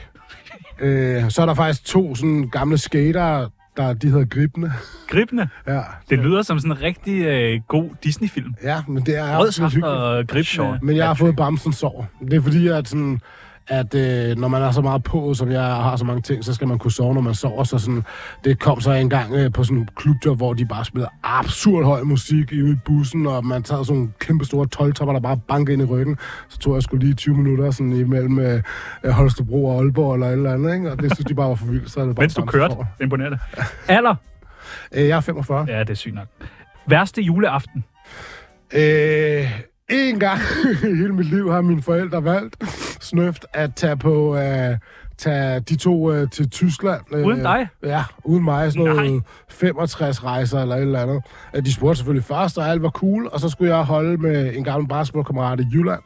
Øh, så er der faktisk to sådan gamle skater, der de hedder Gribne.
Gribende.
Ja,
Det lyder som sådan en rigtig øh, god Disney-film.
ja men det er
Rød
absolut
saft
hyggeligt.
og gribende.
Men jeg har fået bamsen sår. Det er fordi, at, sådan, at øh, når man er så meget på, som jeg har så mange ting, så skal man kunne sove, når man sover. Så sådan, det kom så en gang øh, på sådan en klubjob, hvor de bare spillede absurd høj musik i- ude i bussen, og man tager sådan nogle kæmpe store 12-topper, der bare banker ind i ryggen. Så tog jeg skulle lige 20 minutter sådan imellem øh, øh, Holstebro og Aalborg eller et eller andet, ikke? og det synes de bare var for vildt. Så er det bare
Mens du
Bamsen
kørte.
Sår.
Det er imponerende. Alder.
Øh, jeg er 45.
Ja, det er sygt nok. Værste juleaften.
Øh, en gang i hele mit liv har mine forældre valgt snøft at tage på... Øh, tage de to øh, til Tyskland. Øh,
Uden dig?
Ja, uden mig. Sådan noget
Nej.
65 rejser eller et eller andet. Øh, De spurgte selvfølgelig først, og alt var cool, og så skulle jeg holde med en gammel basketballkammerat i Jylland.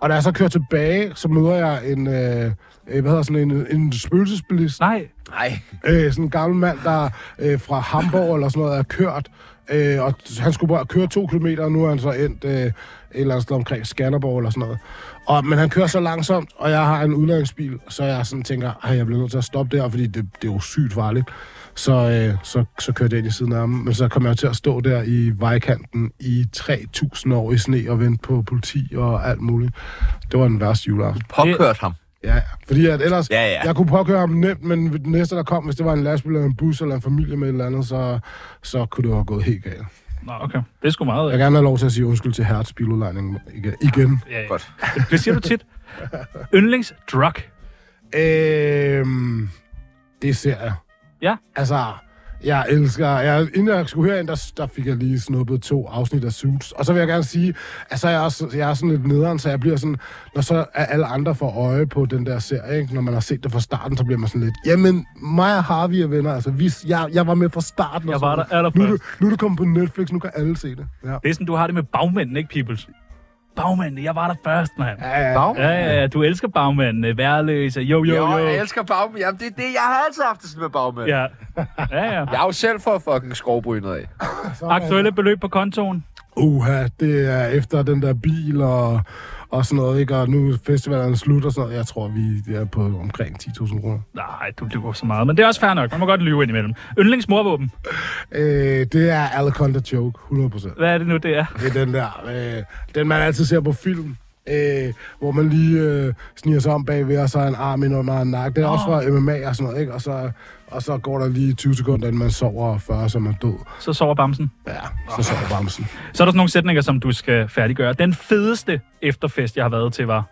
Og da jeg så kører tilbage, så møder jeg en, øh, øh, hvad hedder sådan en, en spøgelsesbilist,
Nej.
Nej.
øh, sådan en gammel mand, der øh, fra Hamburg eller sådan noget er kørt. Øh, og t- han skulle bare køre to kilometer, og nu er han så endt øh, et eller andet sted omkring Skanderborg eller sådan noget. Og, men han kører så langsomt, og jeg har en udlændingsbil, så jeg sådan tænker, at jeg bliver nødt til at stoppe der, fordi det, det er jo sygt farligt. Så, øh, så, så kørte jeg ind i siden af ham. Men så kom jeg jo til at stå der i vejkanten i 3.000 år i sne og vente på politi og alt muligt. Det var den værste juleaften.
Påkørt ham.
Ja, ja. Fordi at ellers,
Ja, ja.
jeg kunne påkøre ham nemt, men ved den næste, der kom, hvis det var en lastbil eller en bus eller en familie med et eller andet, så, så kunne det have gået helt galt.
Nå, okay. Det er sgu meget. øh,
Jeg vil gerne have lov til at sige undskyld til Hertz Biludlejning igen. igen.
Ja, ja.
Godt.
Det siger du tit. Yndlingsdrug.
Øhm, det ser jeg.
Ja.
Altså, jeg elsker... Jeg, inden jeg skulle herind, der, der fik jeg lige snuppet to afsnit af Suits. Og så vil jeg gerne sige, at så er jeg, også, jeg er sådan lidt nederen, så jeg bliver sådan... Når så er alle andre får øje på den der serie, ikke? når man har set det fra starten, så bliver man sådan lidt... Jamen, mig og Harvey er venner. Altså, vi, jeg, jeg var med fra starten. og
Jeg
sådan
var der
noget. Nu, er du-
allerførst.
nu er du kommet på Netflix, nu kan alle se det. Ja.
Det er sådan, du har det med bagmændene, ikke, Peoples? Bagmændene, jeg var der først, mand. Ja,
Bag?
ja, ja, ja. Du elsker bagmændene. Værløse. Jo, jo,
Jo,
jo.
jeg elsker bagmænd. Jamen, det er det, jeg har altid haft det sådan med bagmænd.
Ja. Ja, ja.
Jeg er jo selv for fucking skovbrynet af.
Aktuelle beløb på kontoen.
Uha, det er efter den der bil og, og sådan noget, ikke? Og nu er festivalen slut og sådan noget. Jeg tror, vi er på omkring 10.000 kroner.
Nej, du lyver så meget. Men det er også fair nok. Man må godt lyve indimellem. Yndlingsmorvåben.
Øh, det er Alaconda Joke, 100%.
Hvad er det nu, det er?
Det er den der, øh, den man altid ser på film. Øh, hvor man lige øh, sniger sig om bagved, og så er en arm ind under en nakke. Det er også fra MMA og sådan noget, ikke? Og så, og så går der lige 20 sekunder, inden man sover, og 40, så er man død.
Så sover bamsen.
Ja, så sover bamsen.
Så er der sådan nogle sætninger, som du skal færdiggøre. Den fedeste efterfest, jeg har været til, var...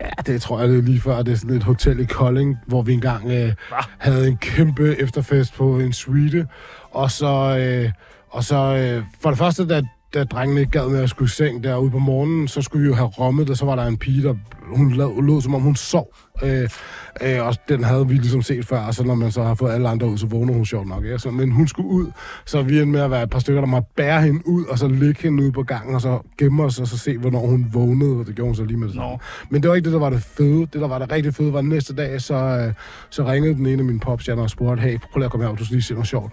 Ja, det tror jeg, det er lige før. Det er sådan et hotel i Kolding, hvor vi engang øh, havde en kæmpe efterfest på en suite. Og så, øh, og så øh, for det første, da, da drengene ikke gad med at skulle i seng derude på morgenen, så skulle vi jo have rommet, og så var der en pige, der hun lå, lå som om hun sov. Øh, øh, og den havde vi ligesom set før, og så når man så har fået alle andre ud, så vågner hun sjovt nok. Ja, så, men hun skulle ud, så vi endte med at være et par stykker, der måtte bære hende ud, og så ligge hende ude på gangen, og så gemme os, og så se, hvornår hun vågnede, og det gjorde hun så lige med det samme.
Nå.
Men det var ikke det, der var det fede. Det, der var det rigtig fede, var den næste dag, så, øh, så ringede den ene af mine pops, jeg og spurgte, hey, prøv lige at komme herop, du skal lige se noget sjovt.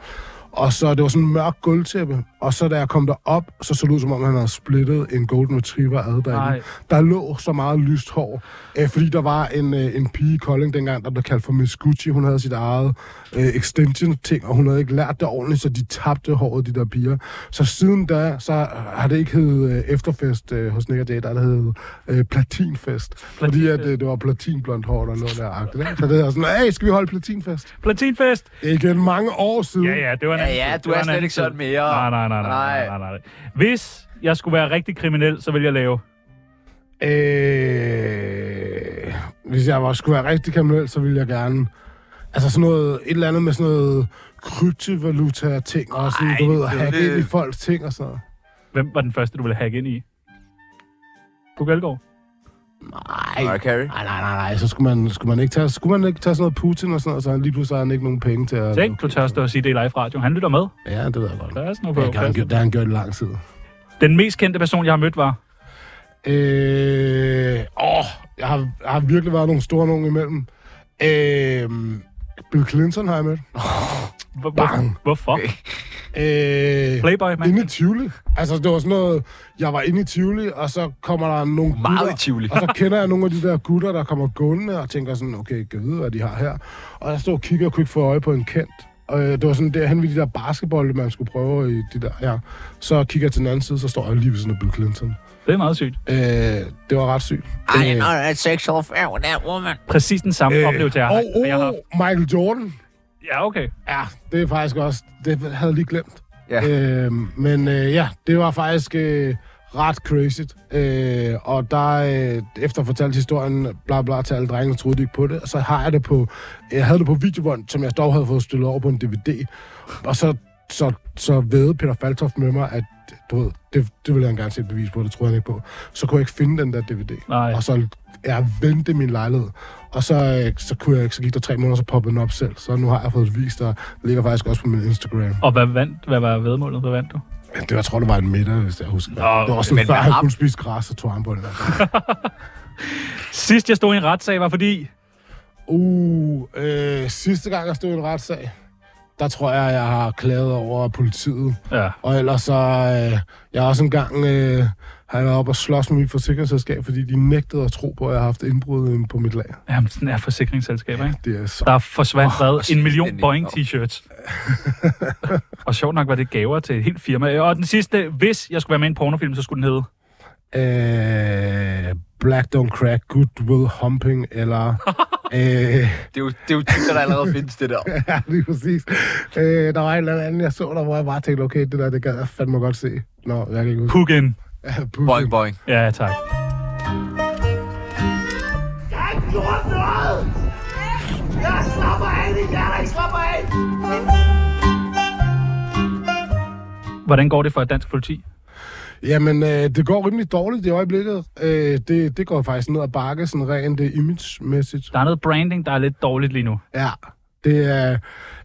Og så, det var sådan en mørk gulvtæppe, og så da jeg kom derop, så så det ud, som om han havde splittet en golden retriever ad derinde.
Nej.
Der lå så meget lyst hår, øh, fordi der var en, øh, en pige i Kolding dengang, der blev kaldt for Miss Gucci. Hun havde sit eget øh, extension-ting, og hun havde ikke lært det ordentligt, så de tabte håret, de der piger. Så siden da, så har det ikke hed øh, efterfest øh, hos Nick og Jay, der har det hed øh, platinfest. Fordi at, øh, det var platinblondt hår, der lå der. agtigt, ikke? Så det er sådan, hey, skal vi holde platinfest?
Platinfest!
Det er igen mange år siden.
Ja, ja, det var en
Ja,
anden
ja,
tid.
du
Det var
er
en
slet
anden
ikke
tid.
sådan mere.
Nej, nej, nej, nej, nej,
Nej.
nej, nej. Hvis jeg skulle være rigtig kriminel, så ville jeg lave...
Øh, hvis jeg var, skulle være rigtig kriminel, så ville jeg gerne... Altså sådan noget, et eller andet med sådan noget kryptovaluta-ting, og sådan, du ved, at hacke
det-
ind i folks ting og sådan noget.
Hvem var den første, du ville hacke ind i? Google Elgård.
Mariah Carey.
Nej, nej, nej, nej, så skulle man, skulle man ikke tage, skulle man ikke tage sådan noget Putin og sådan noget, så han lige pludselig har han ikke nogen penge til at...
Tænk, du tør stå og sige det i live radio. Han lytter med.
Ja, det ved jeg godt.
Der er sådan noget på.
Det har han gjort- det har han gjort i lang tid.
Den mest kendte person, jeg har mødt, var...
Øh, åh, jeg har, jeg har virkelig været nogle store nogen imellem. Øh, Bill Clinton har jeg mødt.
Hvor- hvor-
Bang.
Hvorfor?
Øh,
Playboy, mand.
Inde i Tivoli. Altså, det var sådan noget, jeg var inde i Tivoli, og så kommer der nogle
Meget
gutter,
i Tivoli.
og så kender jeg nogle af de der gutter, der kommer gående og tænker sådan, okay, kan jeg vide, hvad de har her? Og jeg stod og kiggede og kunne ikke få øje på en kendt. Og øh, det var sådan derhen ved de der basketbolde, man skulle prøve i de der, ja. Så kigger jeg til den anden side, så står jeg lige ved sådan en Bill Clinton.
Det er meget sygt.
Øh, det var ret sygt.
I know that sexual affair with that woman.
Præcis den samme øh, oplevelse, jeg har,
og,
jeg har
oh,
haft.
Michael Jordan.
Ja, okay.
Ja, det er faktisk også... Det havde jeg lige glemt.
Ja.
Øh, men øh, ja, det var faktisk øh, ret crazy. Øh, og der øh, efter fortalt historien, bla bla, til alle drengene, troede de ikke på det. Og så har jeg det på... Jeg havde det på videobånd, som jeg dog havde fået stillet over på en DVD. Og så, så, så ved Peter Faltoft med mig, at du ved, det, det ville han gerne se et bevis på, det troede han ikke på. Så kunne jeg ikke finde den der DVD.
Nej.
Og så jeg vendte min lejlighed. Og så, øh, så, kunne jeg, ikke- så gik der tre måneder, så poppede den op selv. Så nu har jeg fået et vis, der ligger faktisk også på min Instagram.
Og hvad, vandt, hvad var vedmålet? Hvad vandt du?
Men det, jeg tror, det var en middag, hvis jeg husker. Nå, det var
men
sådan, før
hvad
han
har-
kunne spise græs, så tog han på det.
Sidst jeg stod i en retssag var fordi...
Uh, øh, sidste gang, jeg stod i en retssag, der tror jeg, jeg har klaget over politiet.
Ja.
Og ellers så... Øh, jeg har også engang... Øh, har jeg været oppe og slås med mit forsikringsselskab, fordi de nægtede at tro på, at jeg har haft indbrud inde på mit lag.
Jamen, sådan er forsikringsselskaber, ikke?
Det er så...
Der forsvandt hvad? en million
den-
Boeing t-shirts. og sjovt nok var det gaver til et helt firma. Og den sidste, hvis jeg skulle være med i en pornofilm, så skulle den hedde...
Øh, Black Don't Crack, Good Will Humping, eller... øh,
Det er jo, det er jo ting, der allerede findes, det der.
ja, lige præcis. Øh, der var en eller anden, jeg så der, hvor jeg bare tænkte, okay, det der, det gad jeg fandme godt se. Nå, jeg kan ikke huske.
Pug in.
Ja, Putin.
Boing, boing.
Ja, tak. Hvordan går det for et dansk politi?
Jamen, øh, det går rimelig dårligt i øjeblikket. Øh, det, det går faktisk ned ad bakke, sådan rent øh, image-mæssigt.
Der er noget branding, der er lidt dårligt lige nu.
Ja, det er,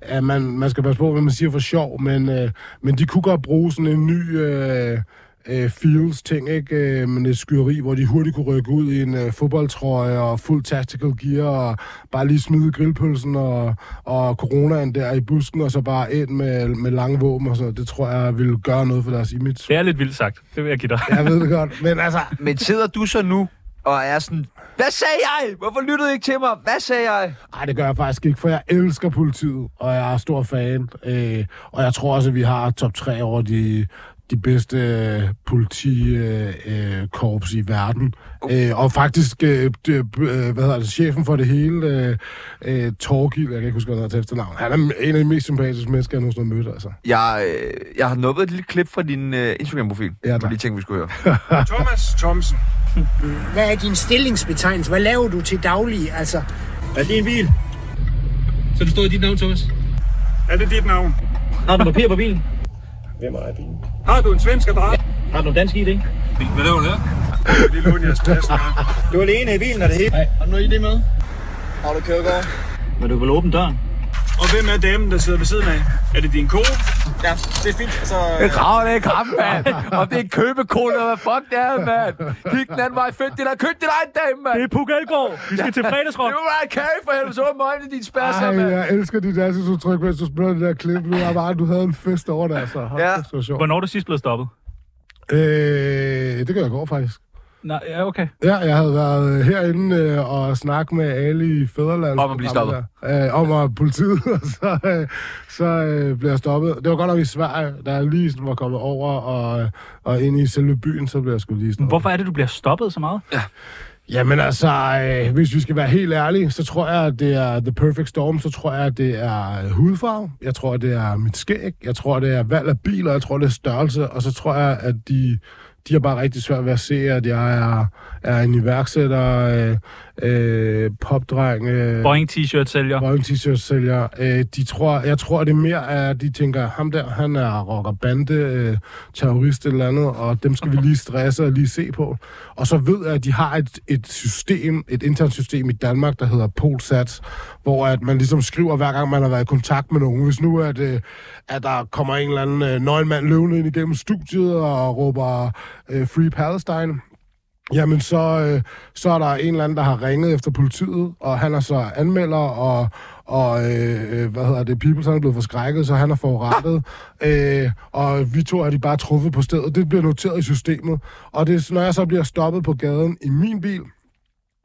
at man, man skal passe på, hvad man siger for sjov, men, øh, men de kunne godt bruge sådan en ny øh, øh, feels-ting, ikke? Øh, men et skyderi, hvor de hurtigt kunne rykke ud i en øh, fodboldtrøje og fuld tactical gear og bare lige smide grillpølsen og, og coronaen der i busken og så bare ind med, med lange våben og sådan noget. Det tror jeg ville gøre noget for deres image.
Det er lidt vildt sagt. Det vil jeg give dig.
Jeg ved det godt, men altså,
Men sidder du så nu og er sådan, hvad sagde jeg? Hvorfor lyttede I ikke til mig? Hvad sagde jeg?
Nej, det gør jeg faktisk ikke, for jeg elsker politiet, og jeg er stor fan. Øh, og jeg tror også, at vi har top 3 over de, de bedste øh, politikorps øh, øh, korps i verden. Øh, og faktisk, øh, det, øh, hvad hedder det, chefen for det hele, øh, øh, Torgild, jeg kan ikke huske, hvad han hedder til efternavn, han er en af de mest sympatiske mennesker, jeg nogensinde har mødt, altså.
Jeg, øh, jeg har nuppet et lille klip fra din øh, Instagram-profil.
Ja,
Jeg
tak.
lige tænkte, vi skulle høre.
Thomas Thomsen.
Hvad er din stillingsbetegnelse? Hvad laver du til daglig? Altså,
Er det din bil?
Så det stod i dit navn, Thomas?
Er det dit navn?
Har du papir på bilen?
Hvem er bilen? Har du en svensk adresse?
Har du dansk ID?
Hvad laver du der? Det er Lunjas plads, Du er alene i bilen, er det hele?
Nej. Har du noget ID med?
Har du kørekort?
Men du vil åbne døren.
Og hvem er damen, der sidder ved siden af? Er det din kone? Ja, det er fint. Så...
Graver det ikke ham, mand. Om det er købekone, eller hvad fuck det er, mand. Kig den anden vej, find det der. Køb din egen dame, mand.
Det er Puk Elgård. Vi skal til fredagsrock.
Det var Mariah Carey for helvede, så var møgne din spasser,
Ej,
mand.
jeg elsker dit ansigtsudtryk, mens du spiller det der klip. Nu er bare, du havde en fest over det, altså. Hold,
Ja.
ja. Det var sjovt.
Hvornår er du sidst blevet stoppet?
Øh, det gør jeg går faktisk.
Nej, ja, okay.
Ja, jeg havde været øh, herinde øh, og snakket med alle i Fæderland.
Om at blive stoppet.
Øh, om at politiet, og så, øh, så øh, blev jeg stoppet. Det var godt nok i Sverige, da jeg lige sådan var kommet over og, øh, og ind i selve byen, så blev jeg sgu lige stoppet.
Hvorfor er det, du bliver stoppet så meget?
Jamen altså, øh, hvis vi skal være helt ærlige, så tror jeg, at det er The Perfect Storm. Så tror jeg, at det er øh, hudfarve. Jeg tror, at det er mit skæg. Jeg tror, at det er valg af biler. Jeg tror, det er størrelse. Og så tror jeg, at de, de har bare rigtig svært ved at se, at jeg er, er en iværksætter, øh, øh, popdreng, øh,
Boeing t-shirt sælger.
Røven t-shirt sælger. Øh, de tror, jeg tror, det er mere af, at de tænker, ham der, han er rocker, bande, øh, terrorist eller andet, og dem skal vi lige stresse og lige se på. Og så ved jeg, at de har et, et system, et internt system i Danmark, der hedder Polsat, hvor at man ligesom skriver, hver gang man har været i kontakt med nogen. Hvis nu at, øh, at der kommer en eller anden øh, nøgenmand løvende ind igennem studiet og råber øh, Free Palestine, Jamen, så, øh, så er der en eller anden, der har ringet efter politiet, og han er så anmelder, og, og øh, øh, hvad hedder det, Peoples, han er blevet forskrækket, så han er forurettet, øh, og vi to er de bare truffet på stedet. Det bliver noteret i systemet, og det, er så- når jeg så bliver stoppet på gaden i min bil,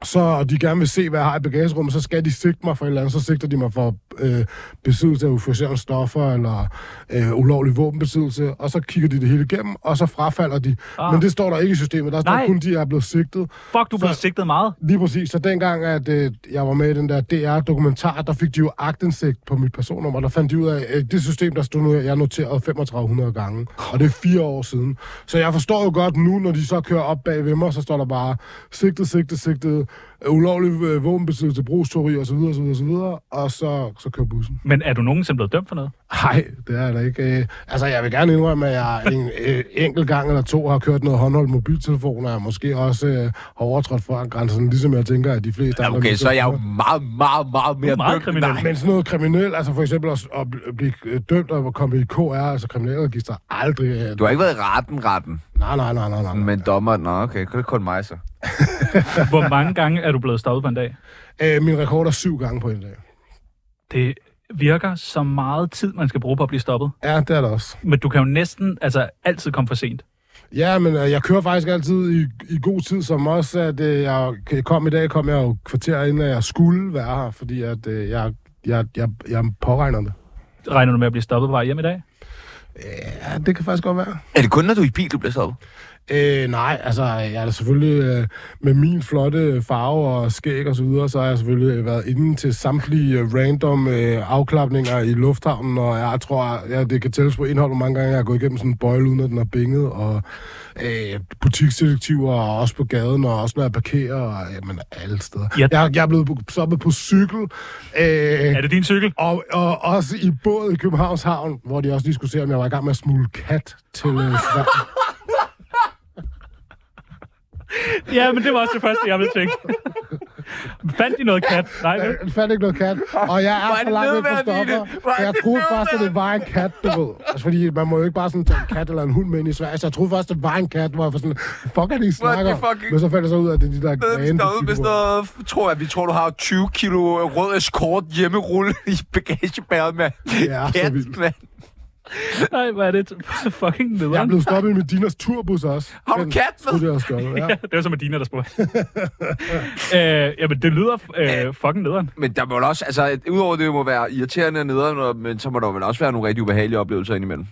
så og de gerne vil se, hvad jeg har i bagagerummet, så skal de sigte mig for et eller andet. Så sigter de mig for øh, besiddelse af euforiserende stoffer eller øh, ulovlig våbenbesiddelse, og så kigger de det hele igennem, og så frafalder de.
Ah.
Ah. Men det står der ikke i systemet. Der står
Nej.
kun, de er blevet sigtet.
Fuck, du bliver
Så-
sigtet meget.
Lige præcis. Så dengang, at øh, jeg var med i den der DR-dokumentar, der fik de jo agtindsigt på mit personnummer. Der fandt de ud af, øh, det system, der stod nu, jeg noterede 3500 gange. Og det er fire år siden. Så jeg forstår jo godt nu, når de så kører op bag ved mig, så står der bare sigtet, sigtet, sigtet, øh, ulovlig øh, våbenbesiddelse, brugsteori osv. osv., osv. Og så, så kører bussen.
Men er du nogensinde blevet dømt for noget?
Nej, det er jeg da ikke. Øh, altså, jeg vil gerne indrømme, at jeg en øh, enkelt gang eller to har kørt noget håndholdt mobiltelefon, og jeg måske også øh, har overtrådt fra grænsen, ligesom jeg tænker, at de fleste...
Ja,
andre
okay,
mennesker
så er jeg jo
gør.
meget, meget, meget mere
meget
dygtig.
kriminel.
Nej,
Men sådan noget kriminelt, altså for eksempel at, at bl- blive øh, dømt og at komme i KR, altså kriminalregister, aldrig... øh,
Du har ikke været i retten, retten.
Nej, nej, nej, nej, nej.
Men dommer, nå okay, det er kun mig så.
Hvor mange gange er du blevet stoppet på en dag?
Øh, min rekord er syv gange på en dag.
Det virker som meget tid, man skal bruge på at blive stoppet.
Ja, det er det også.
Men du kan jo næsten, altså altid komme for sent.
Ja, men øh, jeg kører faktisk altid i, i god tid, som også, at øh, jeg kom i dag, kom jeg jo kvarter inden, at jeg skulle være her, fordi at, øh, jeg, jeg, jeg, jeg påregner det.
Regner du med at blive stoppet på vej hjem i dag?
Ja, det kan faktisk godt være.
Er det kun, når du er i bil, du bliver stoppet?
Øh, nej, altså, jeg er da selvfølgelig øh, med min flotte farve og skæg og så videre, så har jeg selvfølgelig været inde til samtlige øh, random øh, afklapninger i lufthavnen, og jeg tror, jeg, det kan tælles på indhold, hvor mange gange jeg har gået igennem sådan en bøjle, uden at den har binget, og øh, butiksdetektiver, og også på gaden, og også når jeg parkerer, og jamen, alle steder.
Ja.
Jeg, jeg er blevet stoppet på cykel. Øh, er
det din cykel?
Og, og også i båd i Københavns Havn, hvor de også lige skulle se, om jeg var i gang med at smule kat til øh, Sverige.
Ja, men det var også det første, jeg ville tænke. Fandt de noget kat? Nej, vel?
Jeg fandt ikke noget kat, og jeg
Hvor er
er for
det
langt væk fra
nedværdigende.
stopper.
Hvor er
Så jeg
det
troede først, at det var en kat, du ved. Altså, fordi man må jo ikke bare sådan tage en kat eller en hund med ind i Sverige. Så jeg troede først, at det var en kat, hvor jeg var sådan, fuck er det, I
Hvor er det
snakker om?"
fucking-
Men så fandt jeg så ud af, at det er de der
Ved, vi
grene. de
stoppede med
kigger
sådan
på.
noget, tror jeg, vi tror, du har 20 kilo rød eskort hjemmerulle i bagagebæret, mand.
Ja, så
Kat,
vildt.
mand.
Nej, hvor er det fucking nederen.
Jeg blev stoppet med Dinas turbus også.
Har du kat med?
med? Det også stoppet,
Ja.
ja.
det var som Adina, der spurgte. øh, jamen, det lyder øh, fucking nederen.
Men der må vel også, altså, at udover det må være irriterende og nederen, og- men så må der vel også være nogle rigtig ubehagelige oplevelser indimellem.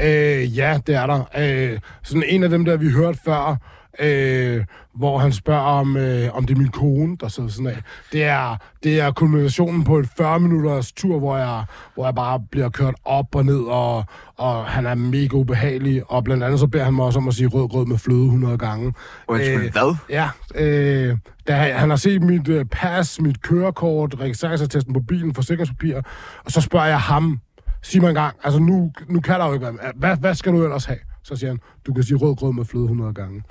Øh, ja, det er der. Øh, sådan en af dem, der vi hørte før, øh, hvor han spørger om, øh, om det er min kone, der sidder sådan af. Det er, det er kulminationen på et 40-minutters tur, hvor jeg, hvor jeg bare bliver kørt op og ned, og, og han er mega ubehagelig. Og blandt andet så beder han mig også om at sige rød grød med fløde 100 gange.
Undskyld, hvad?
Ja, øh, da han han har set mit øh, pas, mit kørekort, registreringsattesten på bilen, forsikringspapirer, og så spørger jeg ham, sig mig en gang, altså nu, nu kan der jo ikke være, hvad, hvad skal du ellers have? Så siger han, du kan sige rød grød med fløde 100 gange.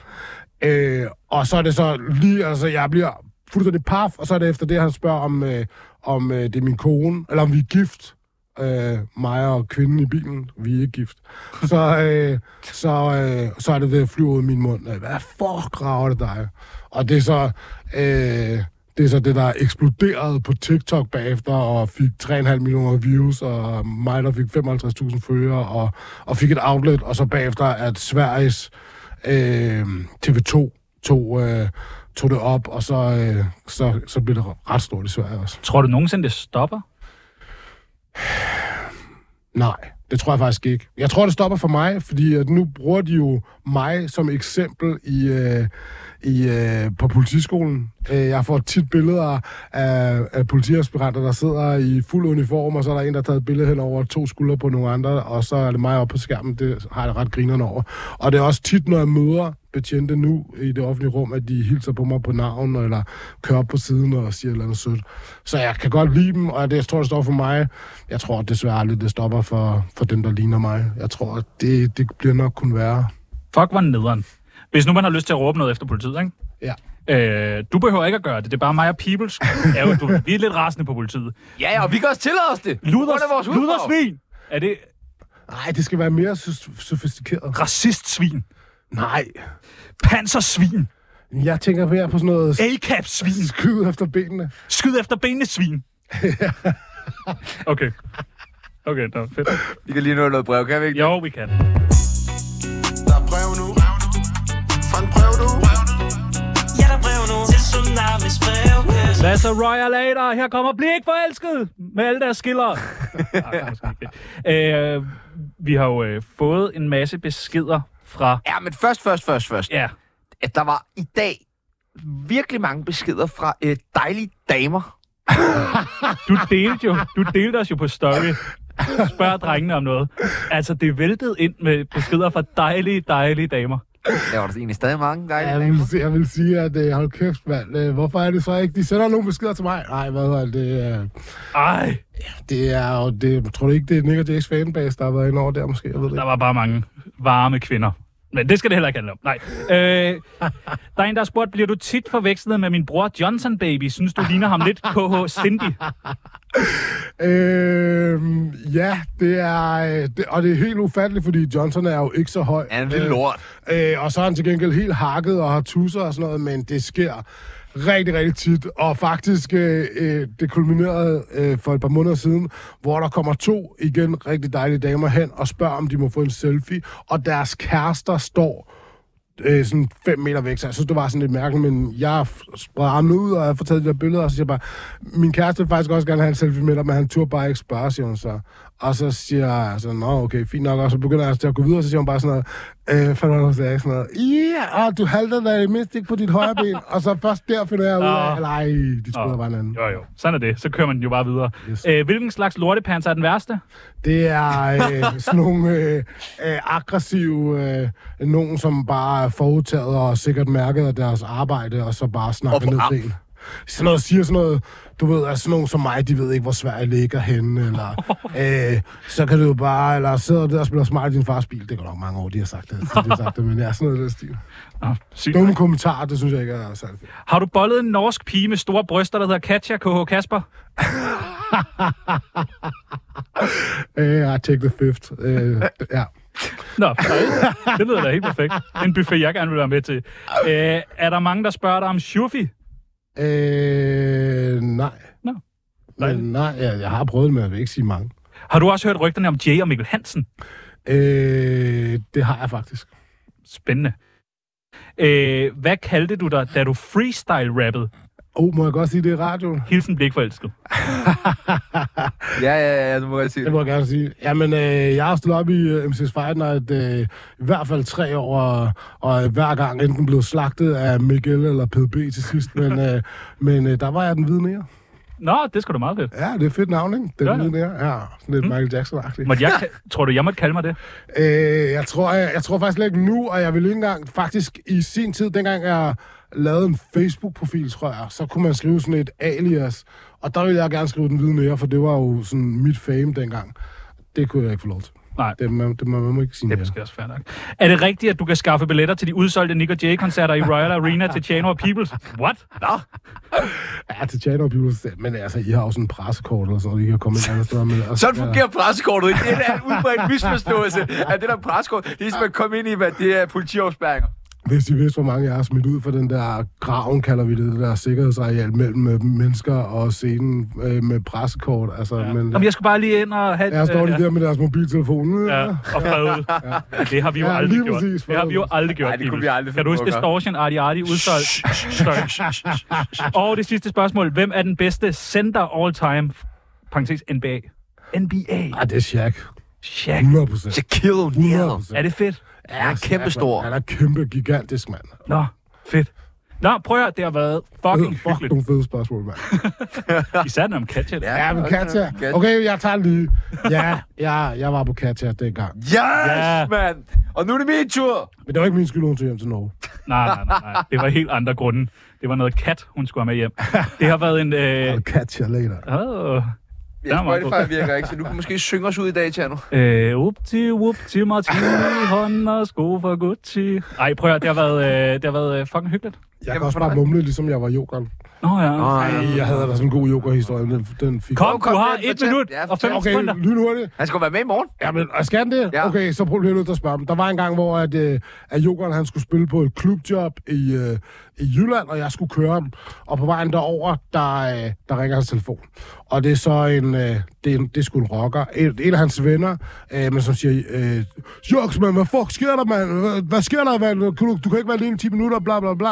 Øh, og så er det så lige, altså jeg bliver fuldstændig paf, og så er det efter det, han spørger om, øh, om øh, det er min kone, eller om vi er gift, øh, mig og kvinden i bilen, vi er ikke gift. Så, øh, så, øh, så er det ved at flyve ud af min mund. Øh, Hvad fuck rager det dig? Og det er så... Øh, det er så det, der eksploderede på TikTok bagefter, og fik 3,5 millioner views, og mig, der fik 55.000 følgere, og, og fik et outlet, og så bagefter, at Sveriges øh, TV2 tog, øh, tog det op, og så, øh, så, så blev det ret stort i Sverige også.
Tror du nogensinde, det stopper?
Nej, det tror jeg faktisk ikke. Jeg tror, det stopper for mig, fordi at nu bruger de jo mig som eksempel i, øh, i, øh, på politiskolen. Øh, jeg får tit billeder af, af politiaspiranter, der sidder i fuld uniform, og så er der en, der har taget et billede hen over to skuldre på nogle andre, og så er det mig oppe på skærmen. Det har jeg da ret grinerne over. Og det er også tit, når jeg møder betjente nu i det offentlige rum, at de hilser på mig på navn, eller kører op på siden og siger et eller andet sødt. Så jeg kan godt lide dem, og det, jeg tror, det står for mig. Jeg tror desværre aldrig, det stopper for, for dem, der ligner mig. Jeg tror, at det, det bliver nok kun værre.
Fuck, hvor nederen. Hvis nu man har lyst til at råbe noget efter politiet, ikke?
Ja.
Øh, du behøver ikke at gøre det. Det er bare mig og Peoples. Ja, jo, du, ved, vi er lidt rasende på politiet.
Ja, ja, og vi kan også tillade os det.
Luders,
Hvor er vores hudfarve?
ludersvin! Er det
Nej, det skal være mere so- sofistikeret.
racistsvin?
Nej.
Pansersvin?
Jeg tænker mere på sådan noget
Alkapsvin?
skyd efter benene.
Skyd efter benene, svin? okay. Okay, nå, fedt.
Vi kan lige nå noget brev, kan vi ikke?
Jo, vi kan.
Der er brev nu Fra en brev nu Ja, der er brev nu Til Tsunamis brevkasse
Hvad så Royal Later? Her kommer Blik forelsket med alle deres skiller. øh, vi har jo øh, fået en masse beskeder fra...
Ja, men først, først, først, først.
Ja,
At der var i dag virkelig mange beskeder fra øh, dejlige damer.
du delte, jo, du delte os jo på story. Spørg drengene om noget. Altså, det væltede ind med beskeder fra dejlige, dejlige damer.
Der var der egentlig stadig mange dejlige
Jeg
damer.
vil, si- jeg vil sige, at øh, hold kæft, mand. Øh, hvorfor er det så ikke? De sender nogle beskeder til mig. Nej, hvad er det? Øh,
Ej,
det er jo... Det, tror du ikke, det er Nick og Jakes fanbase, der har været inde over der måske? Jeg ved det
der
ikke.
var bare mange varme kvinder. Men det skal det heller ikke handle om. Nej. Øh, der er en, der har spurgt, bliver du tit forvekslet med min bror Johnson Baby? Synes du ligner ham lidt KH Cindy?
Øhm, ja, det er... øh, Det, og det er helt ufatteligt, fordi Johnson er jo ikke så høj.
Han er lidt lort.
Øh, og så er han til gengæld helt hakket og har tusser og sådan noget, men det sker rigtig, rigtig tit. Og faktisk, øh, øh, det kulminerede øh, for et par måneder siden, hvor der kommer to, igen, rigtig dejlige damer hen og spørger, om de må få en selfie. Og deres kærester står øh, sådan 5 meter væk, så jeg synes, det var sådan lidt mærkeligt, men jeg spreder armen ud, og jeg får taget de der billeder, og så siger jeg bare, min kæreste vil faktisk også gerne have en selfie med dig, men han turde bare ikke spørge, siger hun så. Og så siger jeg sådan, nå okay, fint nok, og så begynder jeg til at gå videre, og så siger hun bare sådan noget, øh, fandme, hun sagde sådan noget, ja, yeah, du halter dig mindst ikke på dit højre ben, og så først der finder jeg ud af,
Nå.
eller ej, de troede, jeg var en anden.
Jo, jo. Sådan er det. Så kører man den jo bare videre. Yes. Øh, hvilken slags lortepants er den værste?
Det er øh, sådan nogle øh, øh, aggressive, øh, nogen, som bare er forudtaget og sikkert mærket af deres arbejde, og så bare snakker ned til en. Sådan noget, siger sådan noget, du ved, at sådan nogen som mig, de ved ikke, hvor Sverige ligger henne, eller øh, så kan du jo bare, eller sidder der og spiller smart i din fars bil. Det går nok mange år, de har sagt det, de har sagt det men det er sådan noget, i den stil. Dumme kommentarer, det synes jeg ikke er særlig fedt.
Har du bollet en norsk pige med store bryster, der hedder Katja KH Kasper?
Øh, I take the fifth. Øh, ja.
Nå, nej. det lyder da helt perfekt. En buffet, jeg gerne vil være med til. Øh, er der mange, der spørger dig om Shufi?
Øh, nej.
Nå.
Men nej, jeg, jeg har prøvet det, men jeg vil ikke sige mange.
Har du også hørt rygterne om Jay og Mikkel Hansen?
Øh, det har jeg faktisk.
Spændende. Øh, hvad kaldte du dig, da du freestyle-rappede?
Oh, må jeg godt sige det i radioen?
Hilsen blikforelsket.
Ja, ja, ja, du må godt sige
det. må jeg gerne sige. Jamen, øh, jeg har stået op i øh, MC's Fight Night øh, i hvert fald tre år, og, og hver gang enten blev slagtet af Miguel eller PB til sidst, men, øh, men øh, der var jeg den hvide nære.
Nå, det skal du meget fedt.
Ja, det er fedt navn, ikke? Den
Ja,
ja,
ja.
ja. hvide nære. Ja, sådan lidt mm. Michael Jackson-agtigt.
Måtte jeg, ka- tror du, jeg måtte kalde mig det?
Øh, jeg, tror, jeg, jeg tror faktisk slet ikke nu, og jeg vil ikke engang faktisk i sin tid, dengang jeg lavede en Facebook-profil, tror jeg, så kunne man skrive sådan et alias, og der ville jeg gerne skrive den hvide nære, for det var jo sådan mit fame dengang. Det kunne jeg ikke få lov til.
Nej.
Det, man, det, man, man må ikke sige
Det er måske også fair nok. Er det rigtigt, at du kan skaffe billetter til de udsolgte Nick og Jay-koncerter i Royal Arena til Chano og Peoples? What? Nå,
Ja, til Chano Peoples, men altså, I har jo sådan en pressekort eller sådan noget, I kan komme et andet sted altså, med. Og,
Sådan fungerer pressekortet ikke. Det er en udbredt misforståelse af det der pressekort. Det er som at komme ind i, hvad det er politiopspæringer.
Hvis I vidste, hvor mange jeg har smidt ud for den der graven, kalder vi det, det der sikkerhedsareal mellem øh, mennesker og scenen øh, med pressekort. Altså, ja. men,
Jamen, jeg skulle bare lige ind og have...
Jeg står
øh,
lige der med deres mobiltelefon.
Ja, og fred. Ja. Det har vi jo
Ja,
aldrig
lige
gjort.
præcis,
det har
fred.
vi jo aldrig gjort.
Nej, det kunne
Peoples.
vi
Kan
aldrig finde
du huske
på at gøre.
Distortion Arti Arti udsolgt? Sorry. og det sidste spørgsmål. Hvem er den bedste center all time? Parenthes NBA. NBA.
Ah, det er Shaq.
Shaq.
100 procent.
Shaquille
Er det fedt?
Ja,
kæmpestor.
Han er kæmpe gigantisk, mand.
Nå, fedt. Nå, prøv at høre, det har været fucking
Øh.
Fuck
hyggeligt.
nogle fede spørgsmål, mand.
Især den om Katja.
Ja, men Katja. Okay, jeg tager den lige. Ja, jeg, jeg var på Katja dengang.
Yes,
Ja.
ja. mand! Og nu er det min tur!
Men det var ikke min skyld, hun tog hjem til Norge.
Nej, nej, nej, nej. Det var helt andre grunde. Det var noget kat, hun skulle have med hjem. Det har været en... Øh...
Katja later.
Oh.
Ja, Spotify virker ikke, så du kan måske synge os ud i dag, Tjerno.
Øh, upti, upti, martini, hånd og sko for Gucci. Ej, prøv at høre, det har været, øh, det har været øh, fucking hyggeligt.
Jeg kan også bare mumle, ligesom jeg var yoghurt.
Nå ja.
Ej, jeg havde da sådan en god yoghurt-historie, men den, den fik...
Kom, du har et
fortæl.
minut
Ja,
og fem
fortæl.
Okay,
sekunder.
lyn hurtigt.
Han skal jo være med i morgen.
Jamen, og skal han det?
Ja.
Ja. Okay, så prøv lige at lytte og spørge dem. Der var en gang, hvor at, øh, at Jokeren, han skulle spille på et klubjob i, øh, i Jylland, og jeg skulle køre ham. Og på vejen derover, der, øh, der ringer hans telefon. Og det er så en, øh, det, er en, det er sgu en rocker. En, en af hans venner, øh, men som siger, øh, Joks, mand, hvad fuck sker der, mand? Hvad, hvad sker der, mand? Kan Du, du kan ikke være alene i 10 minutter, bla bla bla.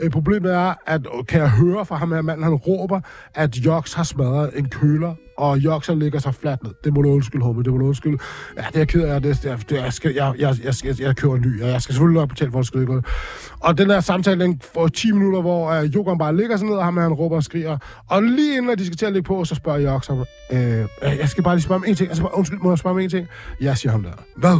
Øh, problemet er, at øh, kan jeg høre fra ham her mand, han råber, at Joks har smadret en køler og jokser ligger sig fladt ned. Det må du undskylde, Hoppe. Det må du undskylde. Ja, det er jeg ked af. Det, det, det, jeg, skal, jeg, jeg, jeg, jeg, jeg kører en ny, og jeg skal selvfølgelig nok betale for, at det skal gå. Og den der samtale, den får 10 minutter, hvor uh, Jokeren bare ligger sig ned, og ham her, han råber og skriger. Og lige inden, at de skal til at ligge på, så spørger Jok så, øh, jeg skal bare lige spørge om en ting. Jeg skal bare, undskyld, må jeg spørge om en ting? Jeg siger ham der. Hvad?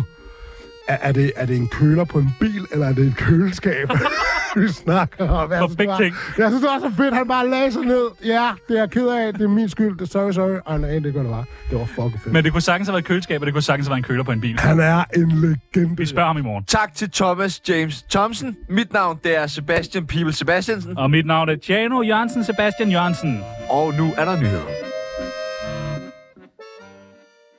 Er, er, det, er det en køler på en bil, eller er det et køleskab? vi snakker om. Jeg
For
synes,
big
det var-
ting.
Jeg synes, det var så fedt, han bare lagde sig ned. Ja, det er jeg ked af. Det er min skyld. Det er sorry, sorry. Og han anede ikke, hvad det var. Det var fucking fedt.
Men det kunne sagtens have været et køleskab, og det kunne sagtens have været en køler på en bil.
Han er en legende.
Vi spørger ham i morgen.
Tak til Thomas James Thompson. Mit navn, det er Sebastian People Sebastiansen.
Og mit navn er Tjano Jørgensen Sebastian Jørgensen.
Og nu er der nyheder.